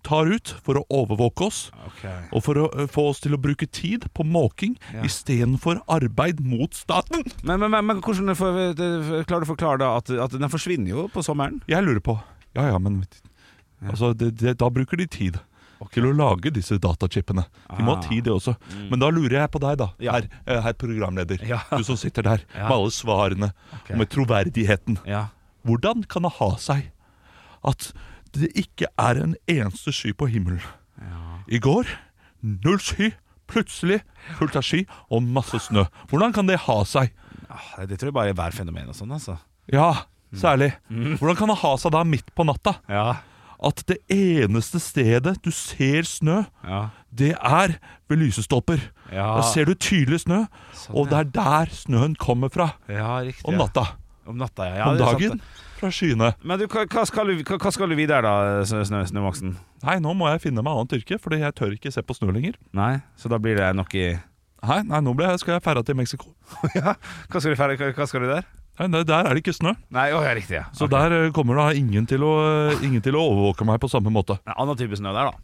[SPEAKER 3] tar ut for å overvåke oss.
[SPEAKER 2] Ok.
[SPEAKER 3] Og for å øh, få oss til å bruke tid på måking istedenfor arbeid mot staten.
[SPEAKER 2] Men, men, men, men hvordan får vi- det- klarer du å forklare da at, at den forsvinner jo på sommeren?
[SPEAKER 3] Jeg lurer på Ja, ja, men altså, det, det, da bruker de tid til å lage disse datachipene. De må
[SPEAKER 2] Ah.
[SPEAKER 3] ha tid, det også. Men da lurer jeg på deg, da,
[SPEAKER 2] Ja.
[SPEAKER 3] herr her, herr programleder.
[SPEAKER 2] Ja.
[SPEAKER 3] Du som sitter der
[SPEAKER 2] Ja.
[SPEAKER 3] med alle svarene
[SPEAKER 2] Ok.
[SPEAKER 3] og med troverdigheten.
[SPEAKER 2] Ja.
[SPEAKER 3] Hvordan kan det ha seg at det ikke er en eneste sky på himmelen? I går null sky, plutselig fullt av sky og masse snø. Hvordan kan det ha seg?
[SPEAKER 2] Ah, Det tror jeg bare er værfenomen og sånn, altså.
[SPEAKER 3] Ja, særlig.
[SPEAKER 2] Mm.
[SPEAKER 3] Hvordan kan det ha seg da midt på natta?
[SPEAKER 2] Ja.
[SPEAKER 3] at det eneste stedet du ser snø,
[SPEAKER 2] Ja.
[SPEAKER 3] det er ved lysestolper.
[SPEAKER 2] Ja. Sånn,
[SPEAKER 3] Da ser du tydelig snø, og det er der snøen kommer fra.
[SPEAKER 2] Ja, riktig.
[SPEAKER 3] Om natta.
[SPEAKER 2] Om natta, ja. ja
[SPEAKER 3] Om
[SPEAKER 2] det er sant,
[SPEAKER 3] dagen fra skyene.
[SPEAKER 2] det. Men du, hva, hva, skal du, hva, hva skal du videre da, Snø- Snø- Snømaksen?
[SPEAKER 3] Nei, nå må jeg finne meg annet yrke, fordi jeg tør ikke se på snø lenger.
[SPEAKER 2] Nei, så da blir det nok i
[SPEAKER 3] Nei, nei nå ble jeg, skal jeg ferda til Mexico.
[SPEAKER 2] Hva skal du, ferdig- hva, hva skal du der?
[SPEAKER 3] Nei, nei, Der er det ikke snø,
[SPEAKER 2] Nei, å, ja, riktig, ja.
[SPEAKER 3] så
[SPEAKER 2] Ok.
[SPEAKER 3] der eh, kommer da ingen til, å, eh, ingen til å overvåke meg på samme måte.
[SPEAKER 2] En annen type snø der, da.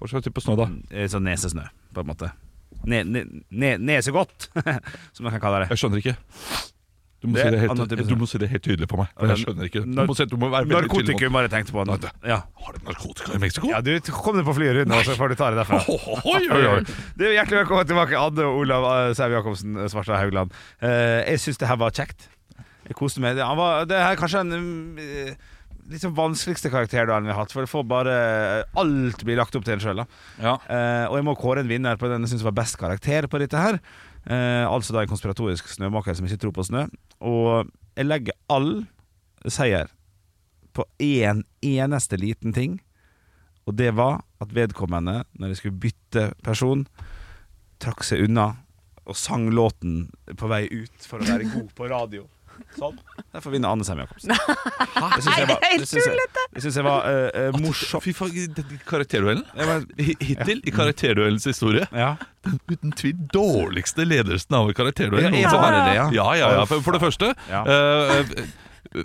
[SPEAKER 3] Hva slags type snø da?
[SPEAKER 2] Eh, Sånn nesesnø, på en måte. Ne, ne, ne, nesegodt, som man kan kalle det.
[SPEAKER 3] Jeg skjønner ikke. Du må,
[SPEAKER 2] Det
[SPEAKER 3] si,
[SPEAKER 2] er
[SPEAKER 3] det
[SPEAKER 2] annen type
[SPEAKER 3] helt,
[SPEAKER 2] snø.
[SPEAKER 3] du må si det helt tydelig for meg. for Jeg skjønner ikke. Du må, si, du må være veldig tydelig. på-
[SPEAKER 2] Narkotikum, bare tenkte på. det. Ja.
[SPEAKER 3] Har du narkotika i Mexico?
[SPEAKER 2] ja, du kom deg på flyet rundt, og så får du ta det derfra.
[SPEAKER 3] Oi,
[SPEAKER 2] Oi,
[SPEAKER 3] oi,
[SPEAKER 2] oi.
[SPEAKER 3] oi.
[SPEAKER 2] Du, hjertelig velkommen tilbake, Anne og Olav eh, Sau Jacobsen eh, Svarstad Haugland. Eh, jeg syns det her var kjekt. Jeg koste meg. Det, han var, det her er kanskje en mm, eh, litt sånn vanskeligste karakterdalen vi har hatt. For det får bare Alt blir lagt opp til en sjøl, da.
[SPEAKER 3] Ja.
[SPEAKER 2] Eh, og jeg må kåre en vinner på den jeg syns var best karakter på dette her. Eh, altså da en konspiratorisk snømaker som ikke tror på snø. Og jeg legger all seier på én eneste liten ting, og det var at vedkommende, når jeg skulle bytte person, trakk seg unna og sang låten på vei ut for å være god på radio. Sånn. Derfor vinner Anne Sem Jacobsen. Det syns jeg var, det syns jeg, det syns jeg var eh, eh, morsomt.
[SPEAKER 3] Fy faen, i- i karakterduellen
[SPEAKER 2] Jeg var-
[SPEAKER 3] Hi- Hittil i karakterduellens historie
[SPEAKER 2] Ja.
[SPEAKER 3] Den uten tvil dårligste ledelsen av karakterduellen
[SPEAKER 2] Ja,
[SPEAKER 3] noensinne.
[SPEAKER 2] var det det, ja?
[SPEAKER 3] Ja, ja, ja. For, for det første
[SPEAKER 2] Ja.
[SPEAKER 3] eh, eh,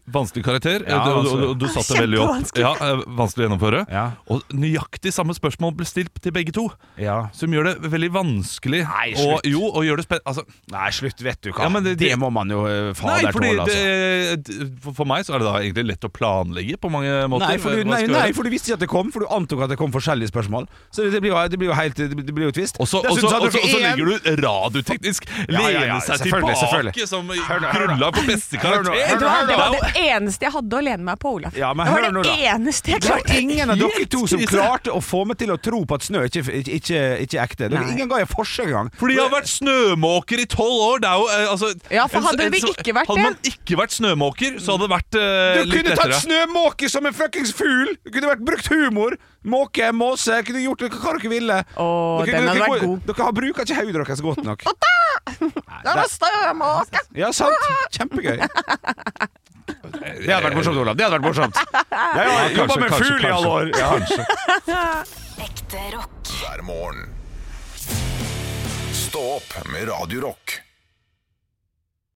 [SPEAKER 3] Vanskelig karakter
[SPEAKER 2] Ja,
[SPEAKER 3] Du- du,
[SPEAKER 2] vanskelig.
[SPEAKER 3] du, du satte veldig opp ja, eh, Vanskelig å gjennomføre
[SPEAKER 2] Ja.
[SPEAKER 3] Og nøyaktig samme spørsmål ble stilt til begge to
[SPEAKER 2] ja.
[SPEAKER 3] Som gjør det veldig vanskelig
[SPEAKER 2] Nei,
[SPEAKER 3] og,
[SPEAKER 2] slutt.
[SPEAKER 3] Jo, og gjør det spennende altså,
[SPEAKER 2] Nei, slutt, vet du hva.
[SPEAKER 3] Ja, men
[SPEAKER 2] det,
[SPEAKER 3] det- det-
[SPEAKER 2] må man jo eh,
[SPEAKER 3] Nei,
[SPEAKER 2] fader
[SPEAKER 3] fordi
[SPEAKER 2] tåle, altså.
[SPEAKER 3] det, eh, d- for- for meg så er det da egentlig lett å planlegge På mange måter
[SPEAKER 2] Nei for,
[SPEAKER 3] hva
[SPEAKER 2] du,
[SPEAKER 3] man
[SPEAKER 2] nei,
[SPEAKER 3] skal
[SPEAKER 2] nei,
[SPEAKER 3] gjøre.
[SPEAKER 2] for du visste ikke at det kom, for du antok at det kom forskjellige spørsmål. Så det blir jo, det blir jo helt Det blir jo twist.
[SPEAKER 3] Og så, og så, og så, og så legger du radioteknisk
[SPEAKER 2] ja, ja,
[SPEAKER 3] Lene seg
[SPEAKER 2] selvfølgelig,
[SPEAKER 3] tilbake
[SPEAKER 2] selvfølgelig.
[SPEAKER 3] som
[SPEAKER 2] Hør nå, hør nå.
[SPEAKER 3] grunnlag for beste
[SPEAKER 2] Hør nå, hør
[SPEAKER 3] karakter.
[SPEAKER 2] nå,
[SPEAKER 5] Det var, det var
[SPEAKER 3] Det er jo-
[SPEAKER 5] det eneste jeg hadde å lene meg på, Olaf.
[SPEAKER 2] Ja, men
[SPEAKER 5] det var
[SPEAKER 2] hør nå,
[SPEAKER 5] det
[SPEAKER 2] da.
[SPEAKER 5] eneste jeg
[SPEAKER 2] Det var
[SPEAKER 5] klarte.
[SPEAKER 2] ingen av dere to som
[SPEAKER 3] krise.
[SPEAKER 2] klarte å få meg til å tro på at snø ikke, ikke, ikke, ikke er ekte. Dere,
[SPEAKER 5] Nei.
[SPEAKER 2] ingen ga jeg forsøk engang.
[SPEAKER 3] Fordi jeg har vært snømåker i tolv år. Det er jo, eh, altså,
[SPEAKER 5] Ja, for
[SPEAKER 3] en-
[SPEAKER 5] hadde
[SPEAKER 3] en-
[SPEAKER 5] vi
[SPEAKER 3] så-
[SPEAKER 5] ikke vært
[SPEAKER 3] Hadde man
[SPEAKER 5] det?
[SPEAKER 3] ikke vært snømåker, så hadde det vært
[SPEAKER 2] Du
[SPEAKER 3] eh, litt
[SPEAKER 2] kunne tatt
[SPEAKER 3] lettere.
[SPEAKER 2] snømåke som en fuckings fugl! Du kunne vært brukt humor. Måke, måse, kunne gjort det hva dere ville.
[SPEAKER 5] Å, den hadde vært god.
[SPEAKER 2] Dere har bruker ikke hodet deres godt nok.
[SPEAKER 5] Det var snømåke.
[SPEAKER 2] Ja, sant. Kjempegøy. Det hadde vært morsomt, Olav. Det hadde vært morsomt. Jeg har
[SPEAKER 3] kanskje,
[SPEAKER 2] jobba med
[SPEAKER 3] kanskje,
[SPEAKER 2] fugl i alle år. Ja.
[SPEAKER 8] Ekte rock.
[SPEAKER 1] hver morgen. Stå opp med Radio Rock.